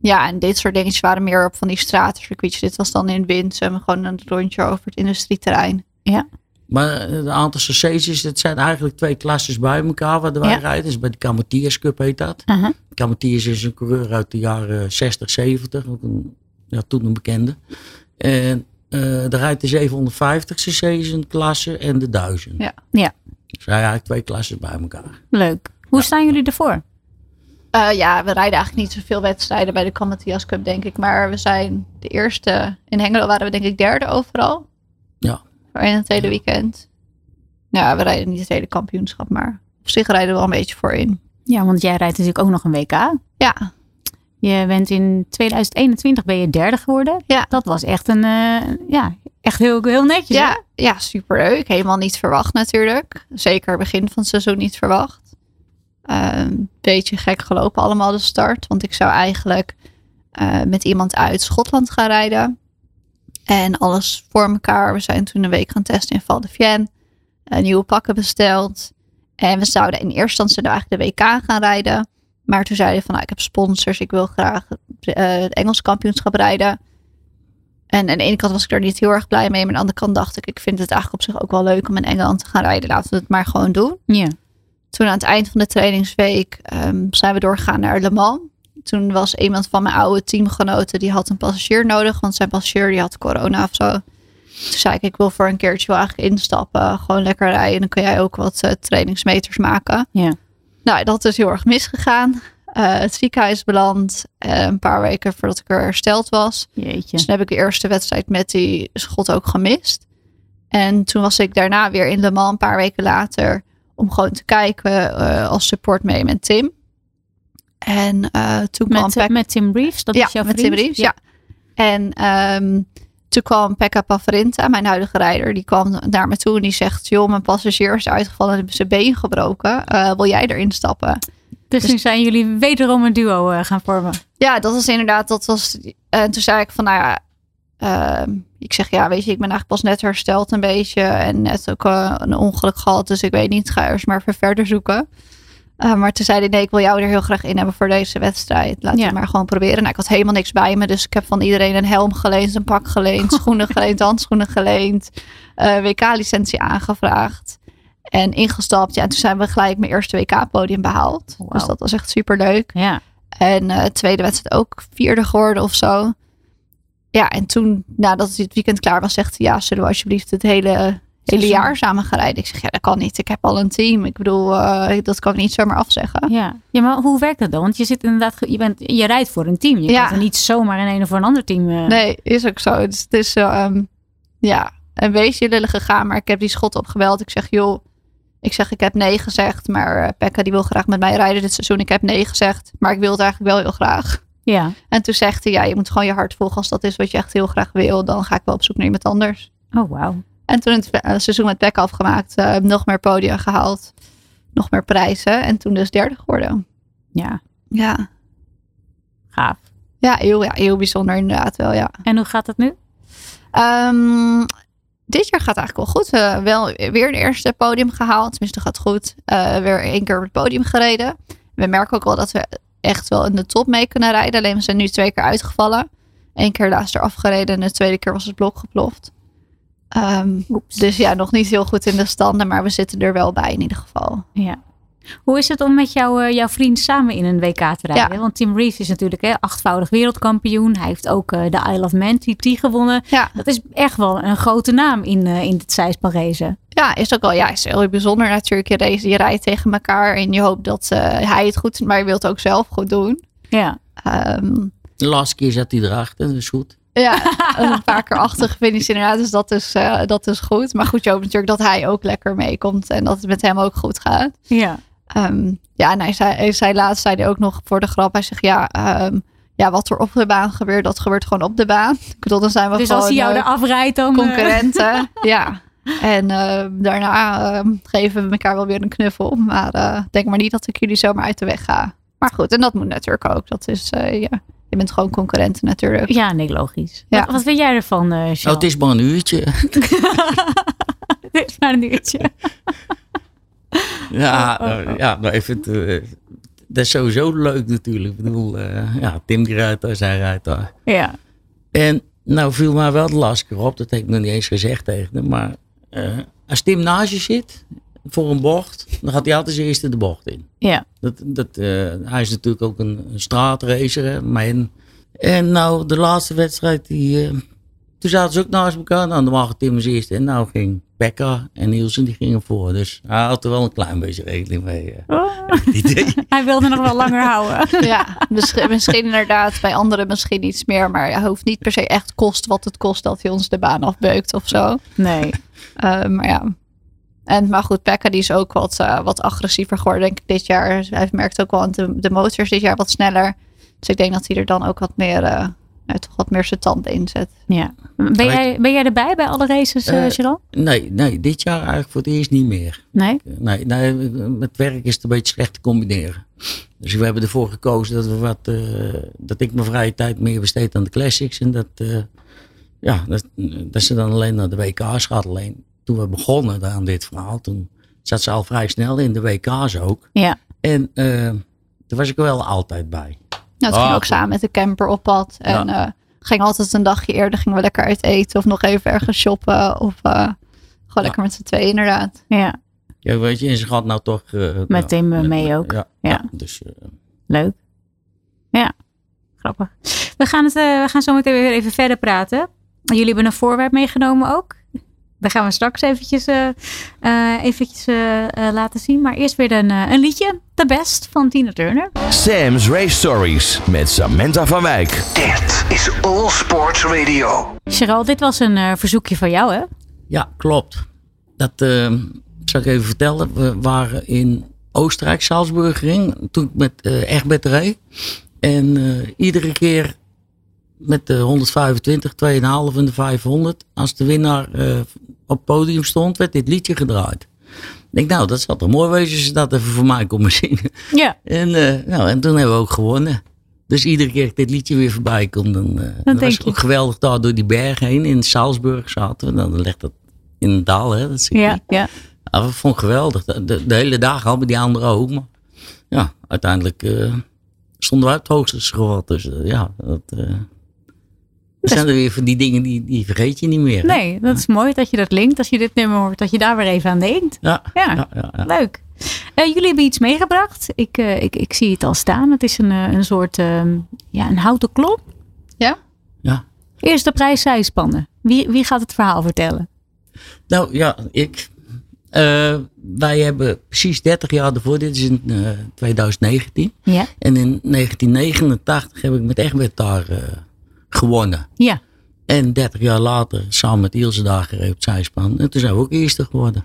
C: ja, en dit soort dingetjes waren meer op van die straatcircuits. Dit was dan in Winsum, gewoon een rondje over het industrieterrein.
B: Ja.
D: Maar het aantal cc's, dat zijn eigenlijk twee klasses bij elkaar waar wij
B: Ja.
D: rijden. Dus bij de Kamatiers Cup heet dat.
B: Aha.
D: Kamatiers is een coureur uit de jaren 60, 70. Ook een, ja, toen een bekende. En eh daar rijdt de 750 cc's een klasse en de 1000.
C: Ja.
B: Ja,
D: Dus hij eigenlijk twee klasses bij elkaar.
B: leuk. Hoe staan jullie ervoor?
C: Eh, ja, we rijden eigenlijk niet zoveel wedstrijden bij de Kamatias Cup, denk ik. Maar we zijn de eerste. In Hengelo waren we denk ik derde overal.
D: Ja.
C: Voor één en tweede weekend. Ja, we rijden niet het hele kampioenschap, maar op zich rijden we wel een beetje voorin.
B: Ja, want jij rijdt natuurlijk ook nog een WK.
C: Ja,
B: Je bent in 2021 ben je derde geworden.
C: Ja.
B: Dat was echt een, eh, ja, echt heel, heel netjes. hè?
C: ja, ja superleuk. Helemaal niet verwacht natuurlijk. Zeker begin van het seizoen niet verwacht. Een beetje gek gelopen allemaal de start. Want ik zou eigenlijk eh, met iemand uit Schotland gaan rijden. En alles voor elkaar. We zijn toen een week gaan testen in Val de Vienne. eh, nieuwe pakken besteld. En we zouden in eerste instantie nou eigenlijk de WK gaan rijden. Maar toen zeiden we van, nou, ik heb sponsors. Ik wil graag eh, het Engels kampioenschap rijden. En aan de ene kant was ik daar niet heel erg blij mee. Maar aan de andere kant dacht ik, ik vind het eigenlijk op zich ook wel leuk om in Engeland te gaan rijden. Laten we het maar gewoon doen.
B: Ja.
C: Toen aan het eind van de trainingsweek ehm, zijn we doorgegaan naar Le Mans. Toen was iemand van mijn oude teamgenoten, die had een passagier nodig. Want zijn passagier die had corona of zo. Toen zei ik, ik wil voor een keertje wel eigenlijk instappen. Gewoon lekker rijden. Dan kan jij ook wat eh, trainingsmeters maken.
B: Ja.
C: Nou, dat is heel erg misgegaan. Eh, het ziekenhuis beland. eh, een paar weken voordat ik er hersteld was. Dus
B: Jeetje.
C: toen heb ik de eerste wedstrijd met die schot ook gemist. En toen was ik daarna weer in Le Mans een paar weken later. Om gewoon te kijken eh, als support mee met Tim. En eh, toen kwam
B: Met, eh,
C: Pek-
B: met Tim Reeves, dat
C: ja,
B: is jouw
C: met
B: vriend?
C: Tim Reeves, ja. En ehm, toen kwam Pekka Pavarinta, mijn huidige rijder, die kwam naar me toe en die zegt: joh, mijn passagier is uitgevallen en heeft zijn been gebroken. Eh, wil jij erin stappen?
B: Dus nu zijn jullie wederom een duo eh, gaan vormen.
C: Ja, dat was inderdaad, dat was. En toen zei ik van, nou ja, ehm, ik zeg ja, weet je, ik ben eigenlijk pas net hersteld een beetje en net ook eh, een ongeluk gehad, dus ik weet niet, ga eerst maar even verder zoeken. Eh, maar toen zei hij, nee, ik wil jou er heel graag in hebben voor deze wedstrijd. Laten we
B: Ja.
C: het maar gewoon proberen. Nou, ik had helemaal niks bij me, dus ik heb van iedereen een helm geleend, een pak geleend, schoenen geleend, handschoenen geleend, eh, WK-licentie aangevraagd. En ingestapt. Ja, en toen zijn we gelijk mijn eerste WK-podium behaald.
B: Oh, Wauw.
C: Dus dat was echt super leuk.
B: Ja.
C: En eh, tweede wedstrijd ook vierde geworden of zo. Ja, en toen, nadat het weekend klaar was, zegt hij... ja, zullen we alsjeblieft het hele, hele
B: Seizoen.
C: jaar samen gaan rijden? Ik zeg, ja, dat kan niet. Ik heb al een team. Ik bedoel, eh, dat kan ik niet zomaar afzeggen.
B: Ja. ja, maar hoe werkt dat dan? Want je zit inderdaad, ge- je, bent, je rijdt voor een team. Je
C: Ja.
B: kan er niet zomaar in een of een ander team. eh,
C: Nee, is ook zo. Dus het is, eh, ehm, ja, een beetje lullig gegaan. Maar ik heb die schot opgebeld. Ik zeg, joh, ik zeg, ik heb nee gezegd. Maar eh, Pekka, die wil graag met mij rijden dit seizoen. Ik heb nee gezegd. Maar ik wil het eigenlijk wel heel graag.
B: Ja.
C: En toen zegt hij, ja, je moet gewoon je hart volgen. Als dat is wat je echt heel graag wil, dan ga ik wel op zoek naar iemand anders.
B: Oh, wauw.
C: En toen het eh, seizoen met Beck afgemaakt, eh, nog meer podium gehaald. Nog meer prijzen. En toen dus derde geworden.
B: Ja,
C: Ja,
B: gaaf.
C: ja, heel, ja, heel bijzonder inderdaad wel, ja.
B: En hoe gaat dat nu?
C: Ehm, dit jaar gaat eigenlijk wel goed. Eh, wel weer een eerste podium gehaald. Tenminste, gaat goed. Eh, weer één keer op het podium gereden. We merken ook wel dat we echt wel in de top mee kunnen rijden. Alleen we zijn nu twee keer uitgevallen. Eén keer laatst eraf gereden en de tweede keer was het blok geploft. Ehm, dus ja, nog niet heel goed in de standen, maar we zitten er wel bij in ieder geval.
B: Ja. Hoe is het om met jou, eh, jouw vriend samen in een WK te rijden?
C: Ja.
B: Want Tim Reeves is natuurlijk hè, achtvoudig wereldkampioen. Hij heeft ook eh, de Isle of Man TT gewonnen.
C: Ja.
B: Dat is echt wel een grote naam in, eh, in dit zeisparezen.
C: Ja, is ook wel ja, is heel bijzonder natuurlijk. Je, race, je rijdt tegen elkaar en je hoopt dat eh, hij het goed doet, maar je wilt het ook zelf goed doen.
B: Ja.
C: Ehm,
D: De laatste keer zat hij erachter, dat is goed.
C: Ja, een paar keer achter gefinished inderdaad. Dus dat is, eh, dat is goed. Maar goed, je hoopt natuurlijk dat hij ook lekker meekomt. En dat het met hem ook goed gaat.
B: Ja.
C: Ehm, ja, en hij zei, hij zei laatst zei hij ook nog voor de grap. Hij zegt, ja, ehm, ja, wat er op de baan gebeurt, dat gebeurt gewoon op de baan. Ik bedoel, dan zijn we
B: Dus
C: gewoon
B: als hij jou
C: eh,
B: eraf rijdt, dan... eh,
C: concurrenten. ja. En ehm, daarna ehm, geven we elkaar wel weer een knuffel. Maar eh, denk maar niet dat ik jullie zomaar uit de weg ga. Maar goed, en dat moet natuurlijk ook. Dat is, eh, ja, je bent gewoon concurrenten natuurlijk.
B: Ja, nee, logisch.
C: Ja.
B: Wat, wat vind jij ervan, eh Jean?
D: Oh, het is maar een uurtje.
B: Dit is maar een uurtje.
D: Ja,
B: Oh, oh,
D: eh, ja maar even. het, eh, dat is sowieso leuk natuurlijk. Ik bedoel, eh, ja, Tim die rijdt daar, zij rijdt daar.
B: Ja.
D: En nou viel mij wel de laatste keer op, dat heb ik nog niet eens gezegd tegen hem. Maar eh, als Tim naast je zit voor een bocht, dan gaat hij altijd als eerste de bocht in.
B: Ja.
D: Dat, dat, eh, hij is natuurlijk ook een, een straatracer. Hè, mijn. En nou, de laatste wedstrijd, die, eh, toen zaten ze ook naast elkaar. Nou, dan waren Tim als eerste. En nou ging Pekka en Nielsen, die gingen voor. Dus hij had er wel een klein beetje rekening mee. eh, het idee.
B: Hij wilde nog wel langer houden.
C: Ja, misschien, misschien inderdaad. Bij anderen misschien iets meer. Maar hij hoeft niet per se echt kost wat het kost dat hij ons de baan afbeukt of zo.
B: Nee.
C: Eh, maar ja. En, maar goed, Pekka die is ook wat, eh, wat agressiever geworden denk ik dit jaar. Dus Hij merkt ook wel, want de, de motor is dit jaar wat sneller. Dus ik denk dat hij er dan ook wat meer, eh, nou, toch wat meer zijn tanden in zet.
B: Ja. Ben jij, ben jij erbij bij alle races, eh
D: Eh,
B: Jean?
D: Nee, nee, dit jaar eigenlijk voor het eerst niet meer.
B: Nee?
D: Nee, nee, met werk is het een beetje slecht te combineren. Dus we hebben ervoor gekozen dat, we wat, eh, dat ik mijn vrije tijd meer besteed aan de classics. En dat, eh, ja, dat, dat ze dan alleen naar de WK's gaat. Alleen toen we begonnen aan dit verhaal, toen zat ze al vrij snel in de WK's ook.
B: Ja.
D: En eh, daar was ik wel altijd bij.
C: Nou, het ging
D: Ah,
C: ook
D: goed.
C: samen met de camper op pad. En eh ging altijd een dagje eerder, gingen we lekker uit eten of nog even ergens shoppen. Of eh, gewoon lekker met z'n tweeën inderdaad.
B: ja,
D: Ja, weet je, en ze gaat nou toch... eh,
B: Met
D: ja,
B: hem, eh, mee ook.
D: Ja,
B: Ja.
D: ja. dus eh,
B: leuk. Ja, grappig. We gaan, het, eh, we gaan zo meteen weer even verder praten. Jullie hebben een voorwerp meegenomen ook. Daar gaan we straks eventjes, eh, eh, eventjes eh, eh, laten zien. Maar eerst weer een, eh, een liedje. The Best van Tina Turner.
A: Sam's Race Stories met Samantha van Wijk.
E: Dit is All Sports Radio.
B: Cheryl, dit was een eh, verzoekje van jou, hè?
D: Ja, klopt. Dat eh, zal ik even vertellen. We waren in Oostenrijk, Salzburgering, toen ik met eh Egbert reed. En eh, iedere keer met de 125, 2,5 en de 500, als de winnaar eh, op het podium stond, werd dit liedje gedraaid. Ik denk, nou, dat zal toch mooi wezen als ze dat even voor mij komen zingen.
B: Ja.
D: En, eh, nou, en toen hebben we ook gewonnen. Dus iedere keer als dit liedje weer voorbij komt, dan, eh dan
B: denk
D: was het
B: je.
D: ook geweldig daar door die berg heen. In Salzburg zaten we, dan legt dat in een dal, hè, dat zie je.
B: Ja, ja.
D: Ah, we vonden het geweldig. De, de- de hele dag hadden we die andere ook, maar ja, uiteindelijk eh, stonden we uit het hoogste schot. Dus eh, ja, dat, eh, dat zijn er weer van die dingen die, die vergeet je niet meer. hè.
B: Nee, dat is mooi dat je dat linkt. Als je dit nummer hoort, dat je daar weer even aan denkt.
D: Ja,
B: Ja.
D: ja. Ja, ja,
B: Leuk. Eh, jullie hebben iets meegebracht. Ik, eh, ik, ik zie het al staan. Het is een, eh, een soort ehm, ja, een houten klomp.
C: Ja?
D: ja.
B: Eerste prijs zijspannen. Wie, wie gaat het verhaal vertellen?
D: Nou ja, ik. Eh, wij hebben precies 30 jaar ervoor, dit is in eh, 2019.
B: Ja.
D: En in 1989 heb ik met Egbert daar eh, gewonnen.
B: Ja.
D: En 30 jaar later, samen met Ilse daar gereden op zijspan. En toen zijn we ook eerste geworden.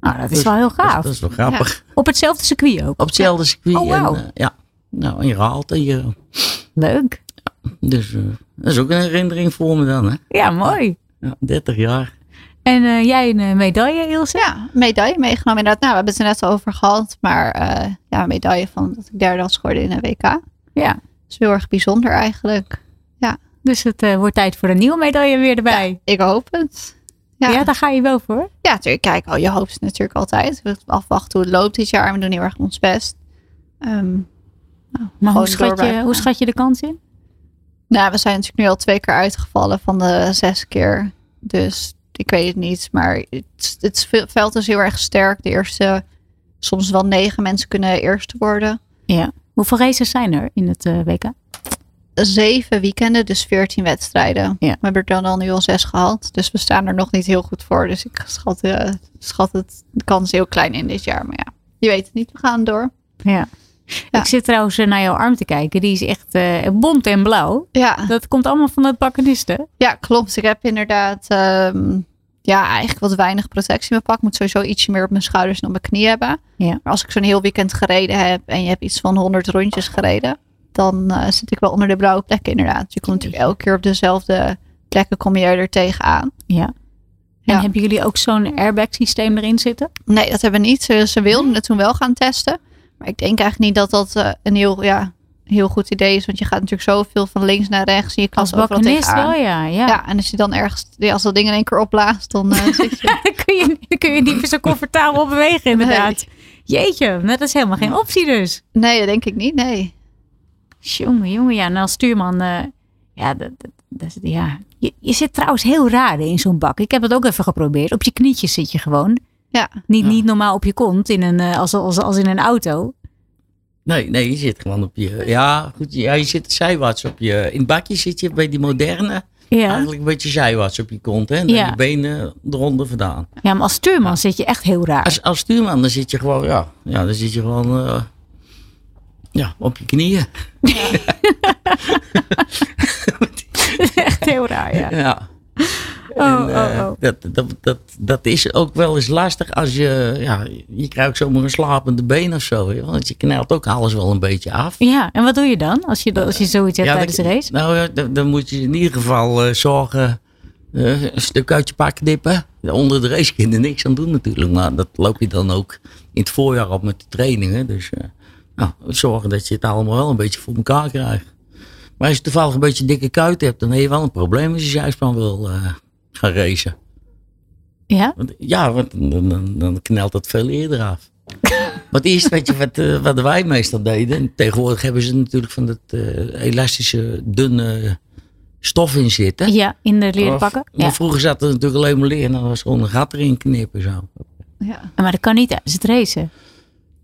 B: Nou, dat is
D: Dus-
B: wel heel
D: Dat,
B: gaaf.
D: dat is wel grappig.
B: Op hetzelfde circuit ook.
D: Op hetzelfde circuit.
B: Oh, wauw.
D: en, eh, ja. Nou, en je haalt en je.
B: Leuk.
D: Dus eh, dat is ook een herinnering voor me dan, hè?
B: Ja, mooi.
D: Ja, 30 jaar.
B: En eh, jij een eh, medaille, Ilse?
C: Ja, medaille meegenomen inderdaad. Nou, we hebben het er net al over gehad. Maar eh, ja, een medaille van dat ik derde was geworden in een WK.
B: Ja.
C: is heel erg bijzonder eigenlijk.
B: Dus het eh, wordt tijd voor een nieuwe medaille weer erbij.
C: Ik hoop het.
B: Ja, daar ga je wel voor.
C: Ja, natuurlijk. Kijk, oh, je hoopt het natuurlijk altijd. We afwachten hoe het loopt dit jaar. We doen heel erg ons best. Ehm,
B: Maar hoe
C: Gewoon
B: schat, je,
C: doorblijven.
B: hoe schat je de kans in?
C: nou, we zijn natuurlijk nu al twee keer uitgevallen van de zes keer. Dus ik weet het niet. Maar het, het veld is heel erg sterk. De eerste, soms wel negen mensen kunnen eerste worden.
B: Ja. Hoeveel races zijn er in het eh, WK?
C: Zeven weekenden, dus veertien wedstrijden.
B: Ja.
C: We hebben er dan al nu al zes gehad. Dus we staan er nog niet heel goed voor. Dus ik schat, eh, schat het, de kans heel klein in dit jaar. Maar ja, je weet het niet. We gaan door.
B: Ja.
C: Ja.
B: Ik zit trouwens eh, naar jouw arm te kijken. Die is echt eh bont en blauw.
C: Ja.
B: Dat komt allemaal van dat bakkenisten.
C: Ja, klopt. Ik heb inderdaad ehm, ja, eigenlijk wat weinig protectie in mijn pak. Ik moet sowieso ietsje meer op mijn schouders en op mijn knie hebben.
B: Ja.
C: Maar als ik zo'n heel weekend gereden heb en je hebt iets van 100 rondjes gereden, dan eh, zit ik wel onder de blauwe plekken inderdaad. Je komt natuurlijk elke keer op dezelfde plekken kom je er tegenaan.
B: Ja. En
C: Ja.
B: hebben jullie ook zo'n airbag systeem erin zitten?
C: Nee, dat hebben we niet. Ze, ze wilden het toen wel gaan testen. Maar ik denk eigenlijk niet dat dat eh, een heel, ja, heel goed idee is. Want je gaat natuurlijk zoveel van links naar rechts. En je kan
B: Als
C: overal
B: bakkenist
C: tegenaan.
B: wel, ja. ja.
C: Ja. en als je dan ergens, ja, als dat ding in één keer opblaast, dan eh, zit je
B: dan, kun je, dan kun je niet meer zo comfortabel bewegen, inderdaad. Jeetje, nou, dat is helemaal geen optie dus.
C: Nee, dat denk ik niet. Nee.
B: Jongen, jongen, ja. En als stuurman, eh, ja, dat, dat, dat is- ja. Je, je zit trouwens heel raar in zo'n bak. Ik heb dat ook even geprobeerd. Op je knietjes zit je gewoon.
C: Ja,
B: Niet, niet normaal op je kont, in een, eh, als, als, als in een auto.
D: Nee, nee, je zit gewoon op je. Ja, goed. Ja, je zit zijwaarts op je. In het bakje zit je bij die moderne.
B: Ja.
D: Eigenlijk een beetje zijwaarts op je kont. Hè? En dan
B: Ja.
D: je benen eronder vandaan.
B: ja, maar als stuurman zit je echt heel raar.
D: Als, als stuurman, dan zit je gewoon, ja, ja dan zit je gewoon eh, ja, op je knieën.
B: Echt heel raar, ja.
D: Ja.
B: Oh,
D: En, eh,
B: oh, oh.
D: Dat, dat, dat, dat is ook wel eens lastig als je, ja, je krijgt zomaar een slapende been of zo. hè, Want je knelt ook alles wel een beetje af.
B: Ja, en wat doe je dan als je, dat- als je zoiets hebt tijdens de
D: dan-
B: race?
D: Nou, ja, dan, dan moet je in ieder geval eh, zorgen. eh, een stuk uit je pak knippen. Onder de race kun je er niks aan doen natuurlijk. Maar dat loop je dan ook in het voorjaar op met de trainingen. Dus eh, nou, zorgen dat je het allemaal wel een beetje voor elkaar krijgt. Maar als je toevallig een beetje dikke kuit hebt, dan heb je wel een probleem als je zijspan wil eh, gaan racen.
C: Ja?
D: Want, ja, want dan, dan, dan knelt dat veel eerder af. Want eerst weet je wat, eh, wat wij meestal deden. En tegenwoordig hebben ze natuurlijk van dat eh, elastische, dunne stof in zitten.
B: Ja, in de leren
D: Maar v-
B: pakken.
D: Maar
B: Ja.
D: vroeger zat er natuurlijk alleen maar leer en dan was gewoon een gat erin knippen zo.
C: Ja.
B: Maar dat kan niet tijdens het racen.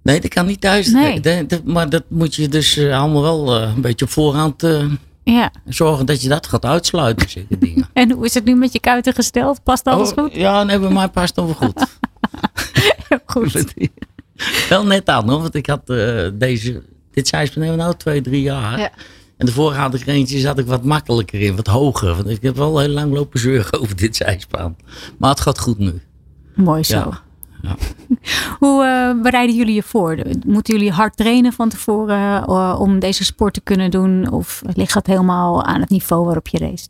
D: Nee, dat kan niet thuis.
B: Nee.
D: Dat- dat- maar dat moet je dus eh, allemaal wel eh, een beetje op voorhand eh,
B: Ja.
D: zorgen dat je dat gaat uitsluiten, zeker dingen.
B: En hoe is het nu met je kuiten gesteld? Past alles
D: Oh,
B: goed?
D: Ja, nee, bij mij past het wel goed.
B: Goed.
D: wel net aan hoor, want ik had eh, deze, dit zijspan hebben we nou twee, drie jaar.
C: Ja.
D: En de vorige had ik er eentje, zat ik wat makkelijker in, wat hoger. Want ik heb wel heel lang lopen zeuren over dit zijspan. Maar het gaat goed nu.
B: Mooi zo.
D: Ja. Ja.
B: Hoe eh, bereiden jullie je voor? Moeten jullie hard trainen van tevoren eh, om deze sport te kunnen doen? Of ligt dat helemaal aan het niveau waarop je race?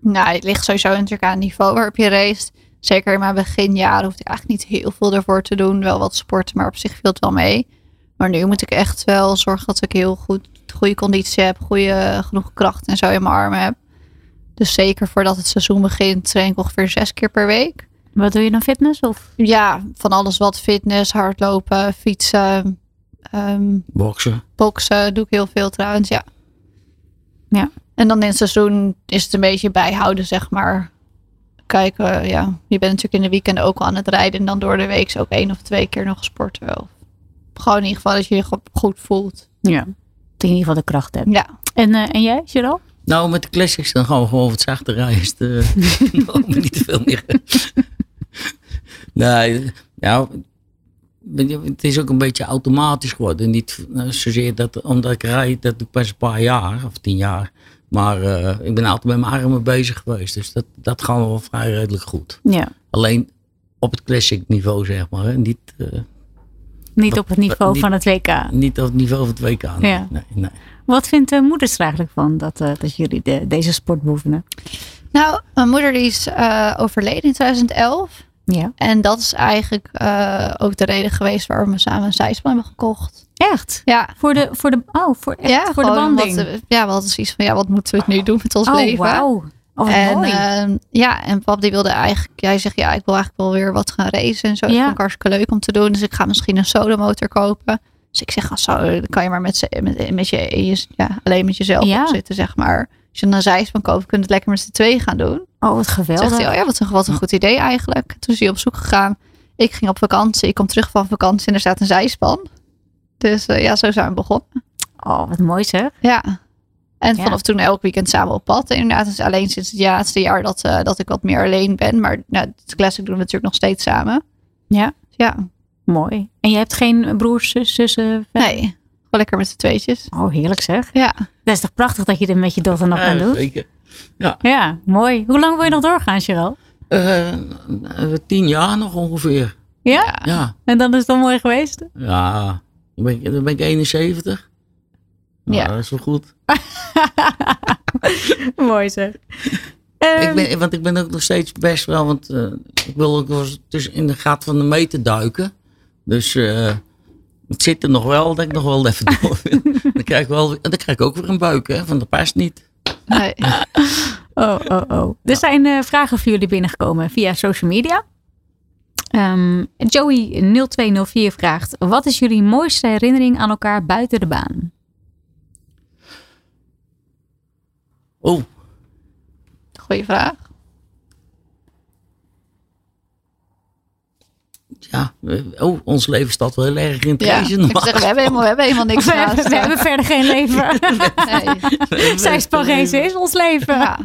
C: Nou, het ligt sowieso natuurlijk aan het niveau waarop je race. Zeker in mijn beginjaren hoefde ik eigenlijk niet heel veel ervoor te doen. Wel wat sporten, maar op zich viel het wel mee. Maar nu moet ik echt wel zorgen dat ik heel goed goede conditie heb. Goede, genoeg kracht en zo in mijn armen heb. Dus zeker voordat het seizoen begint train ik ongeveer zes keer per week.
B: Wat doe je dan fitness? Of?
C: Ja, van alles wat. Fitness, hardlopen, fietsen, ehm,
D: Boksen.
C: boksen doe ik heel veel trouwens, ja.
B: Ja.
C: En dan in het seizoen is het een beetje bijhouden, zeg maar. Kijken, ja. Je bent natuurlijk in de weekenden ook al aan het rijden. En dan door de week ook één of twee keer nog sporten wel. Gewoon in ieder geval dat je je go- goed voelt.
B: Ja. Dat je in ieder geval de kracht hebt.
C: Ja.
B: En, eh, en jij, Gerald?
D: Nou, met de classics dan gaan we gewoon wat zachter rijden. Dus, eh, hopen we niet te veel meer. nee, ja, weet je, het is ook een beetje automatisch geworden. Niet eh, zozeer dat, omdat ik rijd, dat doe ik pas een paar jaar of tien jaar. Maar eh, ik ben altijd met mijn armen bezig geweest. Dus dat, dat gaat wel vrij redelijk goed.
B: Ja.
D: Alleen op het classic niveau, zeg maar. Hè. Niet, eh,
B: Niet
D: Wat-
B: op het niveau
D: wat-
B: van het WK.
D: niet op het niveau van het WK. Nee,
B: Ja.
D: nee, nee.
B: Wat vindt de moeders er eigenlijk van dat, eh, dat jullie de- deze sport beoefenen?
C: Nou, mijn moeder die is eh, overleden in 2011.
B: Ja.
C: En dat is eigenlijk eh, ook de reden geweest waarom we samen een zijspan hebben gekocht.
B: Echt?
C: Ja.
B: Voor de, voor de, oh, voor, echt,
C: ja,
B: voor de
C: gewoon omdat
B: banding?
C: we- ja, we hadden zoiets van, ja, wat moeten we het nu doen met ons
B: oh,
C: leven?
B: wauw. Oh, wat
C: en
B: mooi.
C: ehm, ja, en pap die wilde eigenlijk, jij zegt ja, ik wil eigenlijk wel weer wat gaan racen en zo. Dat
B: Ja.
C: vond ik hartstikke leuk om te doen. Dus ik ga misschien een solomotor kopen. Dus ik zeg, gast, zo, dan kan je maar met, z'n- met, met je, je- ja, alleen met jezelf
B: Ja.
C: op zitten, zeg maar. Als je dan een zijspan koopt, kun je het lekker met z'n tweeën gaan doen.
B: oh, wat
C: Toen
B: geweldig.
C: zegt hij, oh ja, wat een, wat een goed idee eigenlijk. Toen is hij op zoek gegaan. Ik ging op vakantie, ik kom terug van vakantie en er staat een zijspan. Dus eh, ja, zo zijn we begonnen.
B: Oh, wat mooi zeg.
C: Ja. En
B: Ja.
C: vanaf toen elk weekend samen op pad. Inderdaad, het is alleen sinds het laatste jaar dat, eh, dat ik wat meer alleen ben. Maar nou, het classic doen we natuurlijk nog steeds samen.
B: Ja.
C: Ja,
B: Mooi. En je hebt geen broers, zus, zussen? verder?
C: nee. Gewoon lekker met z'n tweetjes.
B: Oh, heerlijk zeg.
C: Ja.
B: Dat is toch prachtig dat je dit met je dochter nog aan
D: Ja,
B: doet?
D: Eh, zeker. Ja.
B: Ja, mooi. Hoe lang wil je nog doorgaan, Cheryl?
D: Eh, eh, tien jaar nog ongeveer.
B: Ja?
D: Ja,
B: En dan is het al mooi geweest?
D: ja. Dan ben ik, dan ben ik 71. Nou,
C: Ja.
D: Dat is wel goed.
B: mooi zeg. Ehm.
D: ik ben, want ik ben ook nog steeds best wel, want eh, ik wil ook wel eens tussen in de gat van de meter duiken. Dus eh, het zit er nog wel, dat ik nog wel even door wil. dan, krijg ik wel, dan krijg ik ook weer een buik, hè, van dat past niet.
C: Nee.
B: Oh, oh, oh. Er zijn eh, vragen voor jullie binnengekomen via social media. Ehm, Joey0204 vraagt: Wat is jullie mooiste herinnering aan elkaar buiten de baan?
D: Oh,
C: Goeie vraag.
D: ja. eh, Oh, ons leven staat wel heel erg in het
C: Ja.
D: racen,
C: Ik
D: normaal.
C: zeg, we, hebben helemaal, we hebben helemaal niks
B: We hebben,
C: naast.
B: we hebben verder geen leven.
C: Nee.
B: Zij Spangezen is ons leven.
C: Ja.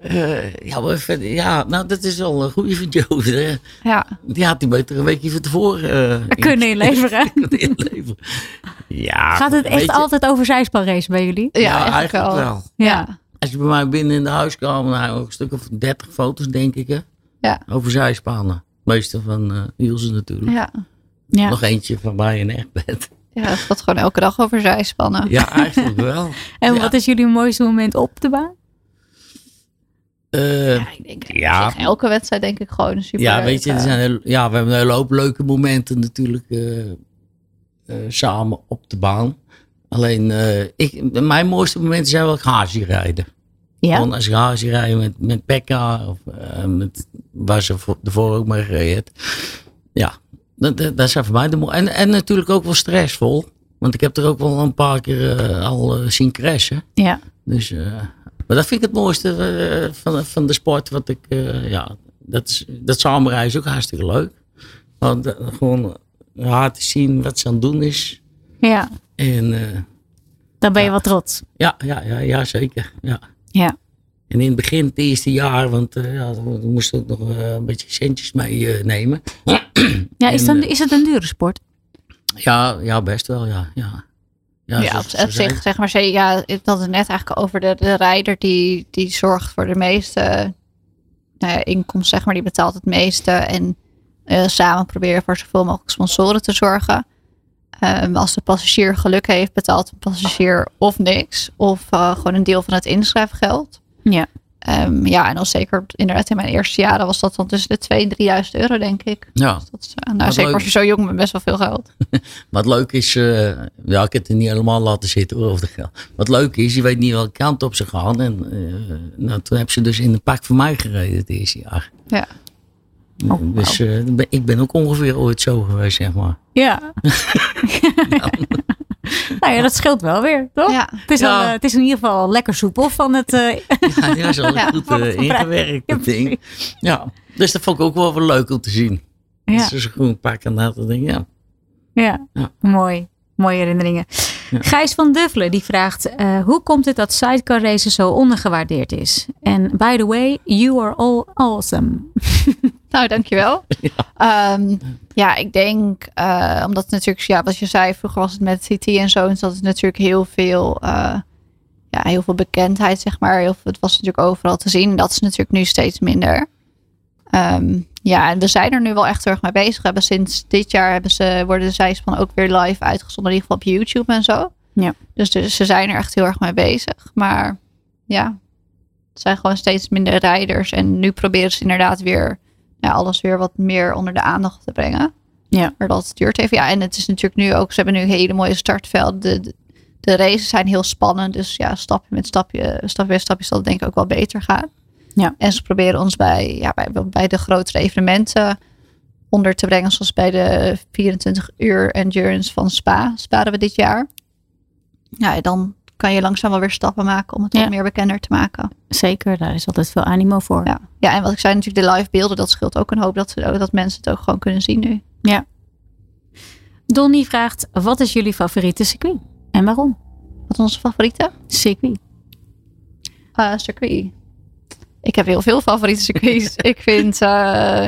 D: Eh, ja, maar verder- ja, nou, dat is wel een goede van Joe. hè.
C: ja.
D: Die had hij beter een weekje van tevoren eh, in-
B: Kunnen inleveren.
D: kunnen inleveren. Ja.
B: Gaat het
D: weet
B: echt
D: je-
B: altijd over zijspanrace bij jullie?
C: Ja,
D: Ja,
C: eigenlijk,
D: eigenlijk
C: wel.
D: wel.
C: Ja.
D: Als je bij mij binnen in de huiskamer, nou, een stuk of 30 foto's, denk ik, hè?
C: Ja.
D: Over zijspannen. Meeste van eh Ilse natuurlijk.
C: Ja.
B: Ja.
D: Nog eentje van mij in Echtbed.
C: Ja, het gaat gewoon elke dag over zijspannen.
D: Ja, eigenlijk wel.
B: En
D: Ja.
B: wat is jullie mooiste moment op de baan?
D: Eh,
C: ik denk,
D: Ja.
C: op zich elke wedstrijd denk ik gewoon een super
D: Ja, weet je, er zijn heel- ja, we hebben een hele hoop leuke momenten natuurlijk eh, eh, samen op de baan. Alleen, eh, ik, mijn mooiste momenten zijn wel haasje rijden.
C: Ja?
D: Gewoon als ik haasje rijden met, met Pekka, of eh, met, waar ze voor- ervoor ook mee gereden heeft. Ja, dat, dat, dat zijn voor mij de mooiste. En, en natuurlijk ook wel stressvol. Want ik heb er ook wel een paar keer eh, al eh, zien crashen.
C: Ja.
D: Dus, eh, maar dat vind ik het mooiste eh, van, van de sport. Wat ik, eh, ja, dat, is, dat samenrijden is ook hartstikke leuk. Want, eh, gewoon laten zien wat ze aan het doen is.
C: Ja.
D: En eh,
B: Dan ben je wel trots.
D: ja, ja, ja, ja, zeker. Ja.
C: Ja.
D: En in het begin, het eerste jaar, want eh ja, we moesten ook nog eh, een beetje centjes mee eh, nemen.
B: Ja, is,
D: En,
B: dan,
D: eh,
B: is het een dure sport?
D: Ja, ja, best wel, ja. Ja,
C: Ja,
D: zo-
C: op,
D: zo
C: op
D: zijn-
C: zich, zeg maar, ze- ja, ik had het net eigenlijk over de, de rijder die, die zorgt voor de meeste nou ja, inkomsten, zeg maar, die betaalt het meeste. En eh, samen proberen voor zoveel mogelijk sponsoren te zorgen. Ehm, als de passagier geluk heeft, betaalt de passagier of niks, of eh, gewoon een deel van het inschrijfgeld.
B: Ja.
C: Ehm, ja, en dan zeker inderdaad in mijn eerste jaren was dat dan tussen de 2.000 en 3.000 euro, denk ik.
D: Ja,
C: Dus dat is, eh, nou,
D: Wat
C: zeker
D: leuk.
C: als je zo jong bent, best wel veel geld.
D: Wat leuk is, eh, ja, ik heb het er niet helemaal laten zitten hoor. Of de geld. Wat leuk is, je weet niet welke kant op ze gaan. En eh, nou, toen heb ze dus in een pak voor mij gereden het eerste jaar.
C: Ja.
B: Oh,
D: dus eh, ben- ik ben ook ongeveer ooit zo geweest, zeg maar.
B: Ja. nou ja, dat scheelt wel weer, toch?
C: Ja.
B: Het, is
D: Ja.
B: al, eh, het is in ieder geval lekker soepel van het... eh,
D: Ja, die was al
C: Ja,
D: goed
B: van
D: eh,
B: het gebruik.
D: ingewerkt, dat
B: Ja,
D: ding. Ja, dus dat vond ik ook wel weer leuk om te zien.
B: Ja.
D: Dus een groen pak en dat ding, ja.
B: Ja,
D: Ja.
B: mooi. Mooie herinneringen. Gijs van Duffelen die vraagt: eh, Hoe komt het dat sidecar racen zo ondergewaardeerd is? En by the way, you are all awesome.
C: Nou, dankjewel. Ehm, ja, ik denk, eh, omdat het natuurlijk, ja, wat je zei, vroeger was het met CT en zo, en dat is natuurlijk heel veel, eh, ja, heel veel bekendheid, zeg maar. Heel veel, het was natuurlijk overal te zien. Dat is natuurlijk nu steeds minder. Ehm, ja, en we zijn er nu wel echt heel erg mee bezig. We hebben sinds dit jaar hebben ze, worden de zijspan ook weer live uitgezonden, in ieder geval op YouTube en zo.
B: Ja.
C: Dus, dus ze zijn er echt heel erg mee bezig. Maar ja, het zijn gewoon steeds minder rijders. En nu proberen ze inderdaad weer ja, alles weer wat meer onder de aandacht te brengen.
B: Ja.
C: Maar dat duurt even. Ja, en het is natuurlijk nu ook, ze hebben nu hele mooie startvelden. De, de, de races zijn heel spannend. Dus ja, stapje met stapje, stap bij stapje zal het denk ik ook wel beter gaan.
B: Ja.
C: En ze proberen ons bij, ja, bij, bij de grotere evenementen onder te brengen. Zoals bij de 24 uur endurance van Spa. Sparen we dit jaar. Ja, en dan kan je langzaam wel weer stappen maken om het
B: Ja.
C: wat meer bekender te maken.
B: Zeker, daar is altijd veel animo voor.
C: Ja. ja, en wat ik zei, natuurlijk de live beelden, dat scheelt ook een hoop dat, ze- dat mensen het ook gewoon kunnen zien nu.
B: Donnie vraagt: Wat is jullie favoriete circuit? En waarom?
C: Wat onze favoriete?
B: Circuit.
C: eh circuit. Ik heb heel veel favoriete circuits. ik vind, eh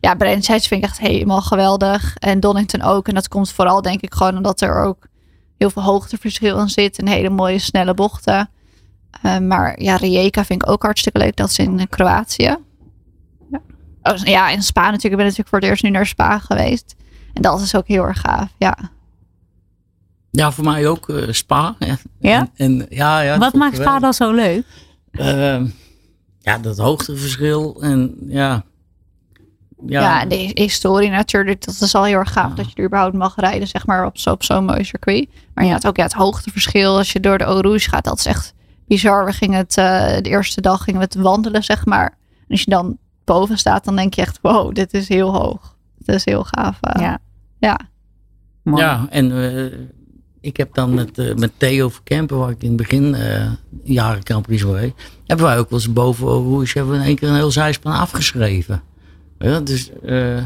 C: ja, Brands Hatch vind ik echt helemaal geweldig. En Donington ook. En dat komt vooral denk ik gewoon omdat er ook heel veel hoogteverschil in zit. En hele mooie snelle bochten. Eh, maar ja, Rijeka vind ik ook hartstikke leuk. Dat is in eh, Kroatië. Ja. Oh, ja, in Spa natuurlijk. Ik ben natuurlijk voor het eerst nu naar Spa geweest. En dat is ook heel erg gaaf, ja.
D: Ja, voor mij ook eh, Spa. En,
B: Ja?
D: en- ja, ja, dat
B: Wat
D: vond ik
B: maakt Spa
D: wel.
B: dan zo leuk?
D: Ehm, ja, dat hoogteverschil en ja.
C: Ja, en de historie natuurlijk. Dat is al heel erg gaaf dat je er überhaupt mag rijden, zeg maar, op zo- op zo'n mooi circuit. Maar ja, het, ook ja, het hoogteverschil als je door de Eau Rouge gaat, dat is echt bizar. We gingen het, eh, de eerste dag gingen we het wandelen, zeg maar. En als je dan boven staat, dan denk je echt, wow, dit is heel hoog. Dit is heel gaaf. eh.
B: Ja.
C: ja.
B: Mooi.
D: Ja, en eh, ik heb dan met, eh, met Theo Verkempen, waar ik in het begin eh, jaren kampioen was, hebben wij ook wel eens boven Rouge hebben we in één keer een heel zijspan afgeschreven. Ja, dus eh,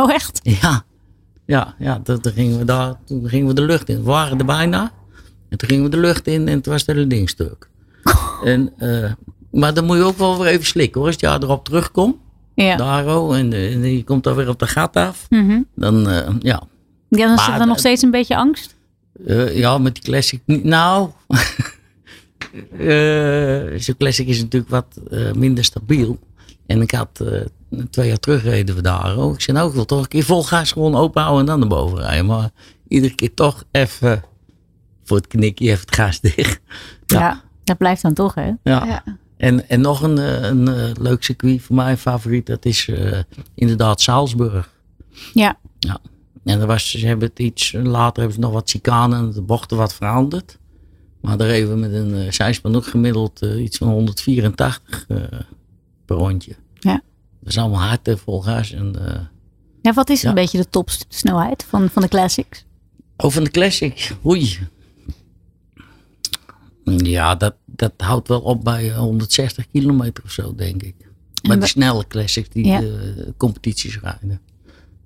B: Oh, echt?
D: ja, ja, ja dat, toen gingen we daar, toen gingen we de lucht in. We waren er bijna. En toen gingen we de lucht in en toen was het hele ding stuk. En, eh, maar dan moet je ook wel weer even slikken hoor, als je erop terugkomt.
B: Ja.
D: Daro, en, eh, en je komt dan weer op de gat af.
B: Mhm.
D: Dan, eh, ja,
B: ja dan
D: Maar
B: zit er dan
D: de-
B: nog steeds een beetje angst.
D: Eh, ja, met die classic. niet- Nou, eh, zo'n classic is natuurlijk wat eh, minder stabiel. En ik had eh, twee jaar terug reden we daar ook. Ik zei, nou, ik wil toch een keer vol gas gewoon openhouden en dan naar boven rijden. Maar iedere keer toch even voor het knikje even het gas dicht.
B: Ja.
D: Ja.
B: Dat blijft dan toch, hè?
D: Ja.
C: Ja.
D: En, en nog een, eh, een eh, leuk circuit voor mij, favoriet, dat is eh, inderdaad Salzburg.
B: Ja.
D: En er was, ze hebben het iets, later hebben ze nog wat chicanen en de bochten wat veranderd. Maar daar hebben we met een uh, zijspan ook gemiddeld eh, iets van 184 eh, per rondje.
C: Ja.
D: Dat is allemaal hard en vol gas. En, eh,
B: Ja, wat is
D: Ja.
B: een beetje de topsnelheid van, van de classics?
D: Oh, van de Classic. Oei. Ja, dat, dat houdt wel op bij eh, 160 kilometer of zo, denk ik. Bij de
B: we-
D: snelle Classic die
B: Ja.
D: eh, competities rijden.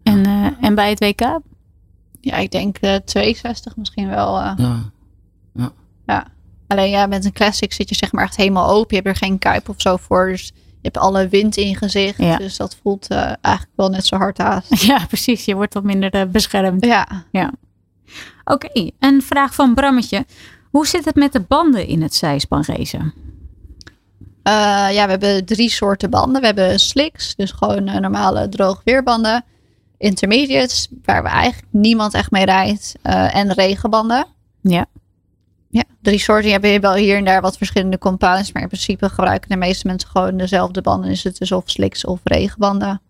B: En, eh, en bij het WK?
C: Ja, ik denk eh 62 misschien wel. eh,
D: Ja.
C: ja. Alleen ja, met een classic zit je zeg maar echt helemaal open. Je hebt er geen kuip of zo voor. Dus je hebt alle wind in je gezicht.
B: Ja.
C: Dus dat voelt eh, eigenlijk wel net zo hard haast.
B: Ja, precies. Je wordt wat minder eh, beschermd.
C: Ja,
B: Oké, een vraag van Brammetje. Hoe zit het met de banden in het zijspanracen?
C: Eh, ja, we hebben drie soorten banden. We hebben slicks, dus gewoon eh, normale droog weerbanden. Intermediates, waar we eigenlijk niemand echt mee rijdt. eh, en regenbanden.
B: Ja.
C: Ja, drie soorten. Je hebt wel hier en daar wat verschillende compounds. Maar in principe gebruiken de meeste mensen gewoon dezelfde banden. Dus het is of slicks of regenbanden.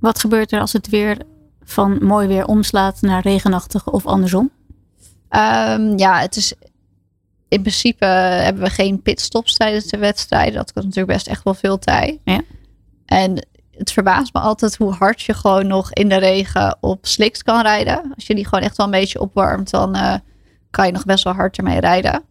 B: Wat gebeurt er als het weer van mooi weer omslaat naar regenachtig of andersom?
C: Ehm, ja, het is... In principe hebben we geen pitstops tijdens de wedstrijden. Dat kost natuurlijk best echt wel veel tijd.
B: Ja.
C: En het verbaast me altijd hoe hard je gewoon nog in de regen op slicks kan rijden. Als je die gewoon echt wel een beetje opwarmt, dan eh, kan je nog best wel hard ermee rijden.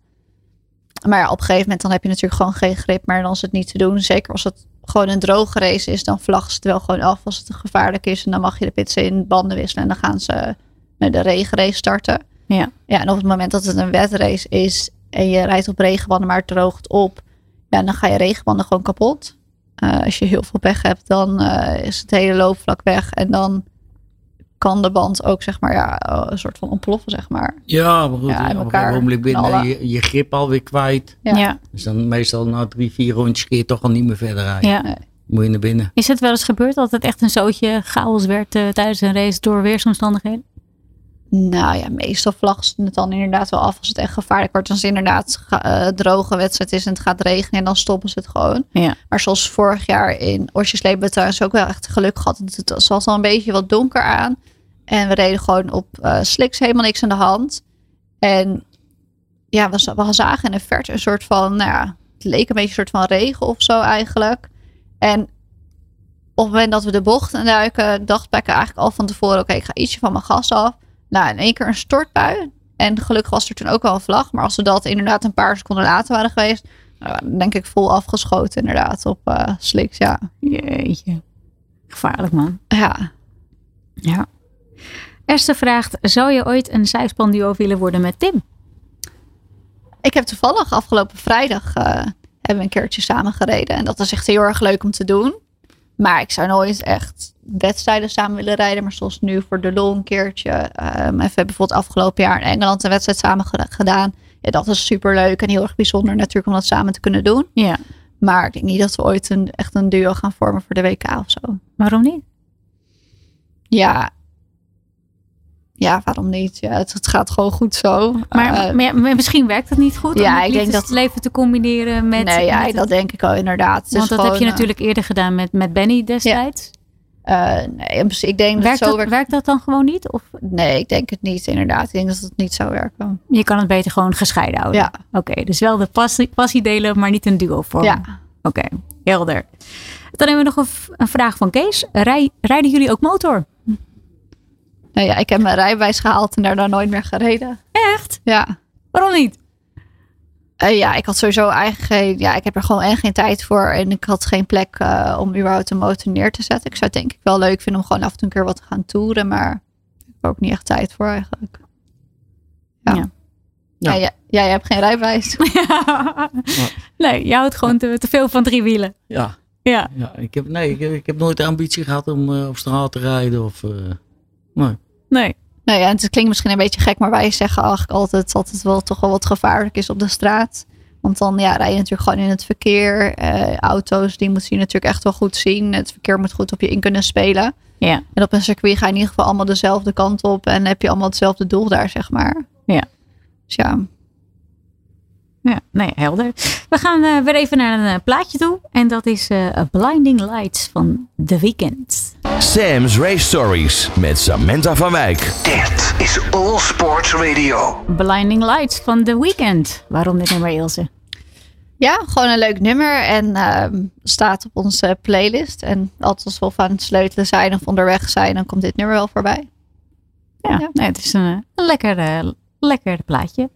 C: Maar ja, op een gegeven moment dan heb je natuurlijk gewoon geen grip meer. Dan is het niet te doen. Zeker als het gewoon een droge race is, dan vlaggen ze het wel gewoon af als het te gevaarlijk is. En dan mag je de pits in, banden wisselen en dan gaan ze naar de regenrace starten.
B: Ja.
C: Ja, en op het moment dat het een wetrace is en je rijdt op regenbanden, maar het droogt op, ja, dan ga je regenbanden gewoon kapot. Eh, als je heel veel pech hebt, dan eh, is het hele loopvlak weg. En dan kan de band ook, zeg maar, ja, eh, een soort van ontploffen, zeg maar.
D: Ja, maar goed,
C: Ja,
D: ja,
C: en
D: op een
C: elkaar
D: gegeven moment ben
C: knallen.
D: je, je grip alweer kwijt.
C: Ja.
D: Dus dan meestal na drie, vier rondjes kun je toch al niet meer verder rijden.
B: ja.
D: Moet je naar binnen.
B: Is het wel eens gebeurd dat het echt een zootje chaos werd eh, tijdens een race door weersomstandigheden?
C: Nou ja, meestal vlaggen ze het dan inderdaad wel af als het echt gevaarlijk wordt. Als het inderdaad ga- eh, droge wedstrijd is en het gaat regenen en dan stoppen ze het gewoon.
B: Ja.
C: Maar zoals vorig jaar in Osjes Leep hebben we trouwens ook wel echt geluk gehad. Het- Het was al een beetje wat donker aan. En we reden gewoon op eh, sliks, helemaal niks aan de hand. En ja, we, za- we zagen in de verte een soort van, nou ja, het leek een beetje een soort van regen of zo eigenlijk. En op het moment dat we de bocht induiken, dacht Pekka eigenlijk al van tevoren, oké, ik ga ietsje van mijn gas af. Nou, in één keer een stortbui. En gelukkig was er toen ook wel een vlag. Maar als we dat inderdaad een paar seconden later waren geweest, nou, dan denk ik vol afgeschoten inderdaad op eh sliks. Ja.
B: Jeetje. Gevaarlijk man.
C: ja,
B: Ja. Esther vraagt, zou je ooit een zijspanduo willen worden met Tim?
C: Ik heb toevallig afgelopen vrijdag eh, hebben we een keertje samen gereden. En dat is echt heel erg leuk om te doen. Maar ik zou nooit echt wedstrijden samen willen rijden. Maar zoals nu voor de lol een keertje. Ehm, en we hebben bijvoorbeeld afgelopen jaar in Engeland een wedstrijd samen geda- gedaan. Ja, dat is super leuk en heel erg bijzonder natuurlijk om dat samen te kunnen doen.
B: Ja.
C: Maar ik denk niet dat we ooit een, echt een duo gaan vormen voor de WK of zo.
B: Waarom niet?
C: Ja, ja waarom niet? Ja, het, het gaat gewoon goed zo.
B: Maar,
C: Eh,
B: maar ja, maar misschien werkt dat niet goed
C: ja,
B: om het
C: ik denk dat-
B: liefdesleven te combineren met...
C: nee, ja,
B: met het-
C: dat denk ik wel inderdaad. Het is
B: want dat heb
C: gewoon,
B: je
C: eh,
B: natuurlijk eerder gedaan met, met Benny destijds.
C: Eh, nee, in principe- ik denk
B: Werkt
C: dat
B: dat,
C: zo werkt.
B: werkt dat dan gewoon niet? Of
C: Nee, ik denk het niet, inderdaad. Ik denk dat het niet zou werken.
B: je kan het beter gewoon gescheiden houden?
C: Ja.
B: Oké, dus wel de passie, passie delen, maar niet een duo vormen.
C: Ja.
B: Oké, helder. Dan hebben we nog een, v- een vraag van Kees. Rij- rijden jullie ook motor?
C: Nou ja, ik heb mijn rijbewijs gehaald en daarna nooit meer gereden.
B: Echt?
C: Ja.
B: Waarom niet?
C: Eh, ja, ik had sowieso eigenlijk geen... Ja, ik heb er gewoon echt geen tijd voor. En ik had geen plek eh, om überhaupt een motor neer te zetten. Ik zou het denk ik wel leuk vinden om gewoon af en toe een keer wat te gaan toeren. Maar ik heb er ook niet echt tijd voor eigenlijk. Ja.
B: Ja.
C: ja.
D: Ja.
C: jij, jij hebt geen rijbewijs.
B: nee, je houdt gewoon te, te veel van drie wielen.
D: Ja.
B: Ja.
D: ja ik, heb, nee, ik, heb- ik heb nooit de ambitie gehad om eh, op straat te rijden. Of, eh, nee.
B: Nee.
C: Nou ja, en het klinkt misschien een beetje gek, maar wij zeggen eigenlijk altijd dat het wel toch wel wat gevaarlijk is op de straat. Want dan ja, rij je natuurlijk gewoon in het verkeer. Eh, auto's, die moet je natuurlijk echt wel goed zien. Het verkeer moet goed op je in kunnen spelen.
B: Ja.
C: En op een circuit ga je in ieder geval allemaal dezelfde kant op. En heb je allemaal hetzelfde doel daar, zeg maar.
B: Ja.
C: Dus ja,
B: ja. Nee, helder. We gaan eh, weer even naar een eh, plaatje toe. En dat is eh, A Blinding Lights van The Weeknd.
A: Sam's Race Stories met Samantha van Wijk.
E: Dit is All Sports Radio.
B: Blinding Lights van The Weeknd. Waarom dit nummer, Ilse?
C: Ja, gewoon een leuk nummer en ehm, staat op onze playlist. En altijd als we of aan het sleutelen zijn of onderweg zijn, dan komt dit nummer wel voorbij.
B: Ja, nee, het is een, eh, lekker, eh, lekker plaatje.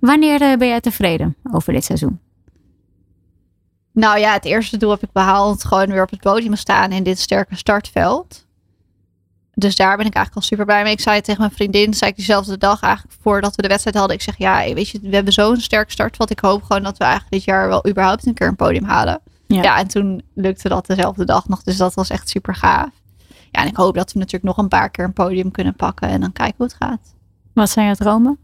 B: Wanneer eh, ben jij tevreden over dit seizoen?
C: Nou ja, het eerste doel heb ik behaald. Gewoon weer op het podium staan in dit sterke startveld. Dus daar ben ik eigenlijk al super blij mee. Ik zei het tegen mijn vriendin, zei ik diezelfde dag eigenlijk voordat we de wedstrijd hadden. Ik zeg, ja, weet je, we hebben zo'n sterk startveld. Ik hoop gewoon dat we eigenlijk dit jaar wel überhaupt een keer een podium halen.
B: Ja.
C: Ja, en toen lukte dat dezelfde dag nog. Dus dat was echt super gaaf. Ja, en ik hoop dat we natuurlijk nog een paar keer een podium kunnen pakken. En dan kijken hoe het gaat.
B: Wat zijn je dromen?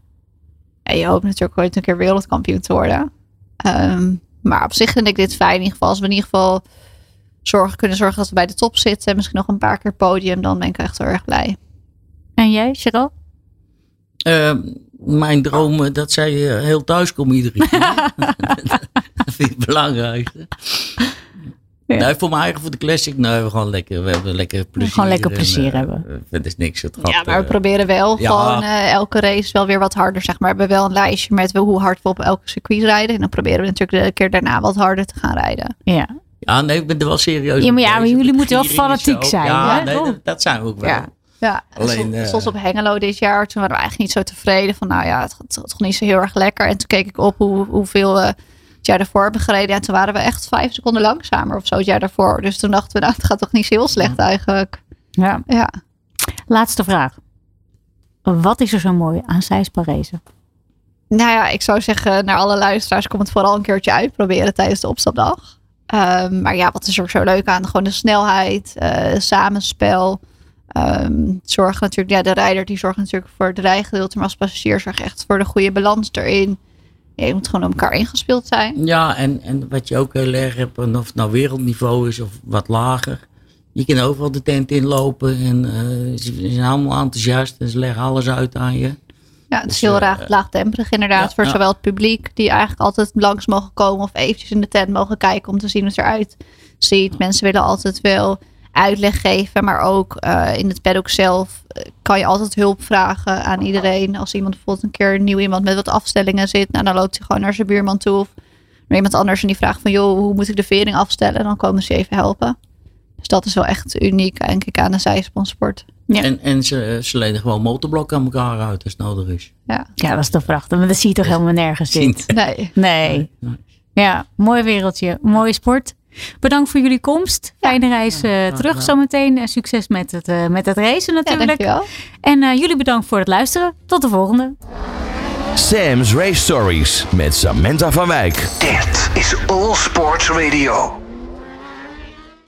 C: En je hoopt natuurlijk ooit een keer wereldkampioen te worden. Ehm, maar op zich vind ik dit fijn. In ieder geval, als we in ieder geval zorgen, kunnen zorgen dat we bij de top zitten. En misschien nog een paar keer podium. Dan ben ik echt heel erg blij.
B: En jij, Cheryl?
D: Eh, mijn dromen, dat zij eh, heel thuis komt iedere keer. dat vind ik het belangrijkste.
B: Ja.
D: Nee, voor mijn eigen, voor de classic, nou, we hebben gewoon lekker, we hebben lekker plezier.
B: Gewoon lekker
D: en,
B: plezier
D: eh,
B: hebben.
D: eh, Het is niks, het gaat.
C: Ja, maar we
D: eh,
C: proberen wel
D: ja.
C: gewoon eh, elke race wel weer wat harder. Zeg maar. We hebben wel een lijstje met hoe hard we op elke circuit rijden. En dan proberen we natuurlijk de keer daarna wat harder te gaan rijden.
B: Ja.
D: Ja, nee, ik ben er wel serieus
B: Ja, maar
D: mee
B: ja, maar
D: bezig.
B: jullie
D: Met
B: moeten wel
D: viering en
B: fanatiek
D: zo.
B: zijn,
D: Ja,
B: hè?
D: nee,
B: Oh.
D: dat, dat zijn we ook wel.
C: Ja. Ja,
D: Alleen,
C: Alleen,
D: eh,
C: soms op Hengelo dit jaar, toen waren we eigenlijk niet zo tevreden. Van nou ja, het gaat toch niet zo heel erg lekker. En toen keek ik op hoe, hoeveel eh het jaar daarvoor hebben gereden. En toen waren we echt vijf seconden langzamer of zo het jaar daarvoor. Dus toen dachten we, nou het gaat toch niet zo heel slecht eigenlijk.
B: ja.
C: Ja.
B: Laatste vraag. Wat is er zo mooi aan zijsparezen?
C: Nou ja, ik zou zeggen, naar alle luisteraars, kom het vooral een keertje uitproberen tijdens de opstapdag. Ehm, maar ja, wat is er zo leuk aan? Gewoon de snelheid, eh, samenspel. Ehm zorg natuurlijk, ja, de rijder die zorgt natuurlijk voor het rijgedeelte, maar als passagier zorg echt voor de goede balans erin. Ja, je moet gewoon op elkaar ingespeeld zijn.
D: Ja, en, en wat je ook heel erg hebt, en of het nou wereldniveau is of wat lager. Je kan overal de tent inlopen en eh, ze ze zijn allemaal enthousiast en ze leggen alles uit aan je.
C: Ja, het is
D: Dus,
C: heel
D: eh,
C: laag, laagdemperig inderdaad,
D: ja,
C: voor
D: ja.
C: zowel het publiek, die eigenlijk altijd langs mogen komen of eventjes in de tent mogen kijken om te zien hoe het eruit ziet. Mensen willen altijd wel uitleg geven, maar ook eh, in het paddock zelf eh, kan je altijd hulp vragen aan iedereen. Als iemand bijvoorbeeld een keer nieuw iemand met wat afstellingen zit, nou, dan loopt hij gewoon naar zijn buurman toe of naar iemand anders en die vraagt van joh, hoe moet ik de vering afstellen? En dan komen ze je even helpen. Dus dat is wel echt uniek, denk ik, aan de zijspansport.
B: Ja.
D: En, en ze, eh, ze lenen gewoon motorblokken aan elkaar uit als het nodig is.
C: Ja,
B: Ja, dat is toch prachtig. Maar dat zie je toch helemaal nergens in?
C: nee.
B: Nee. Ja, mooi wereldje. Mooie sport. Bedankt voor jullie komst. Fijne reis eh, terug zometeen. En succes met het, eh, met het racen
C: Ja,
B: natuurlijk.
C: dankjewel.
B: en eh, jullie bedankt voor het luisteren. Tot de volgende.
A: Sam's Race Stories met Samantha van Wijk.
E: Dit is All Sports Radio.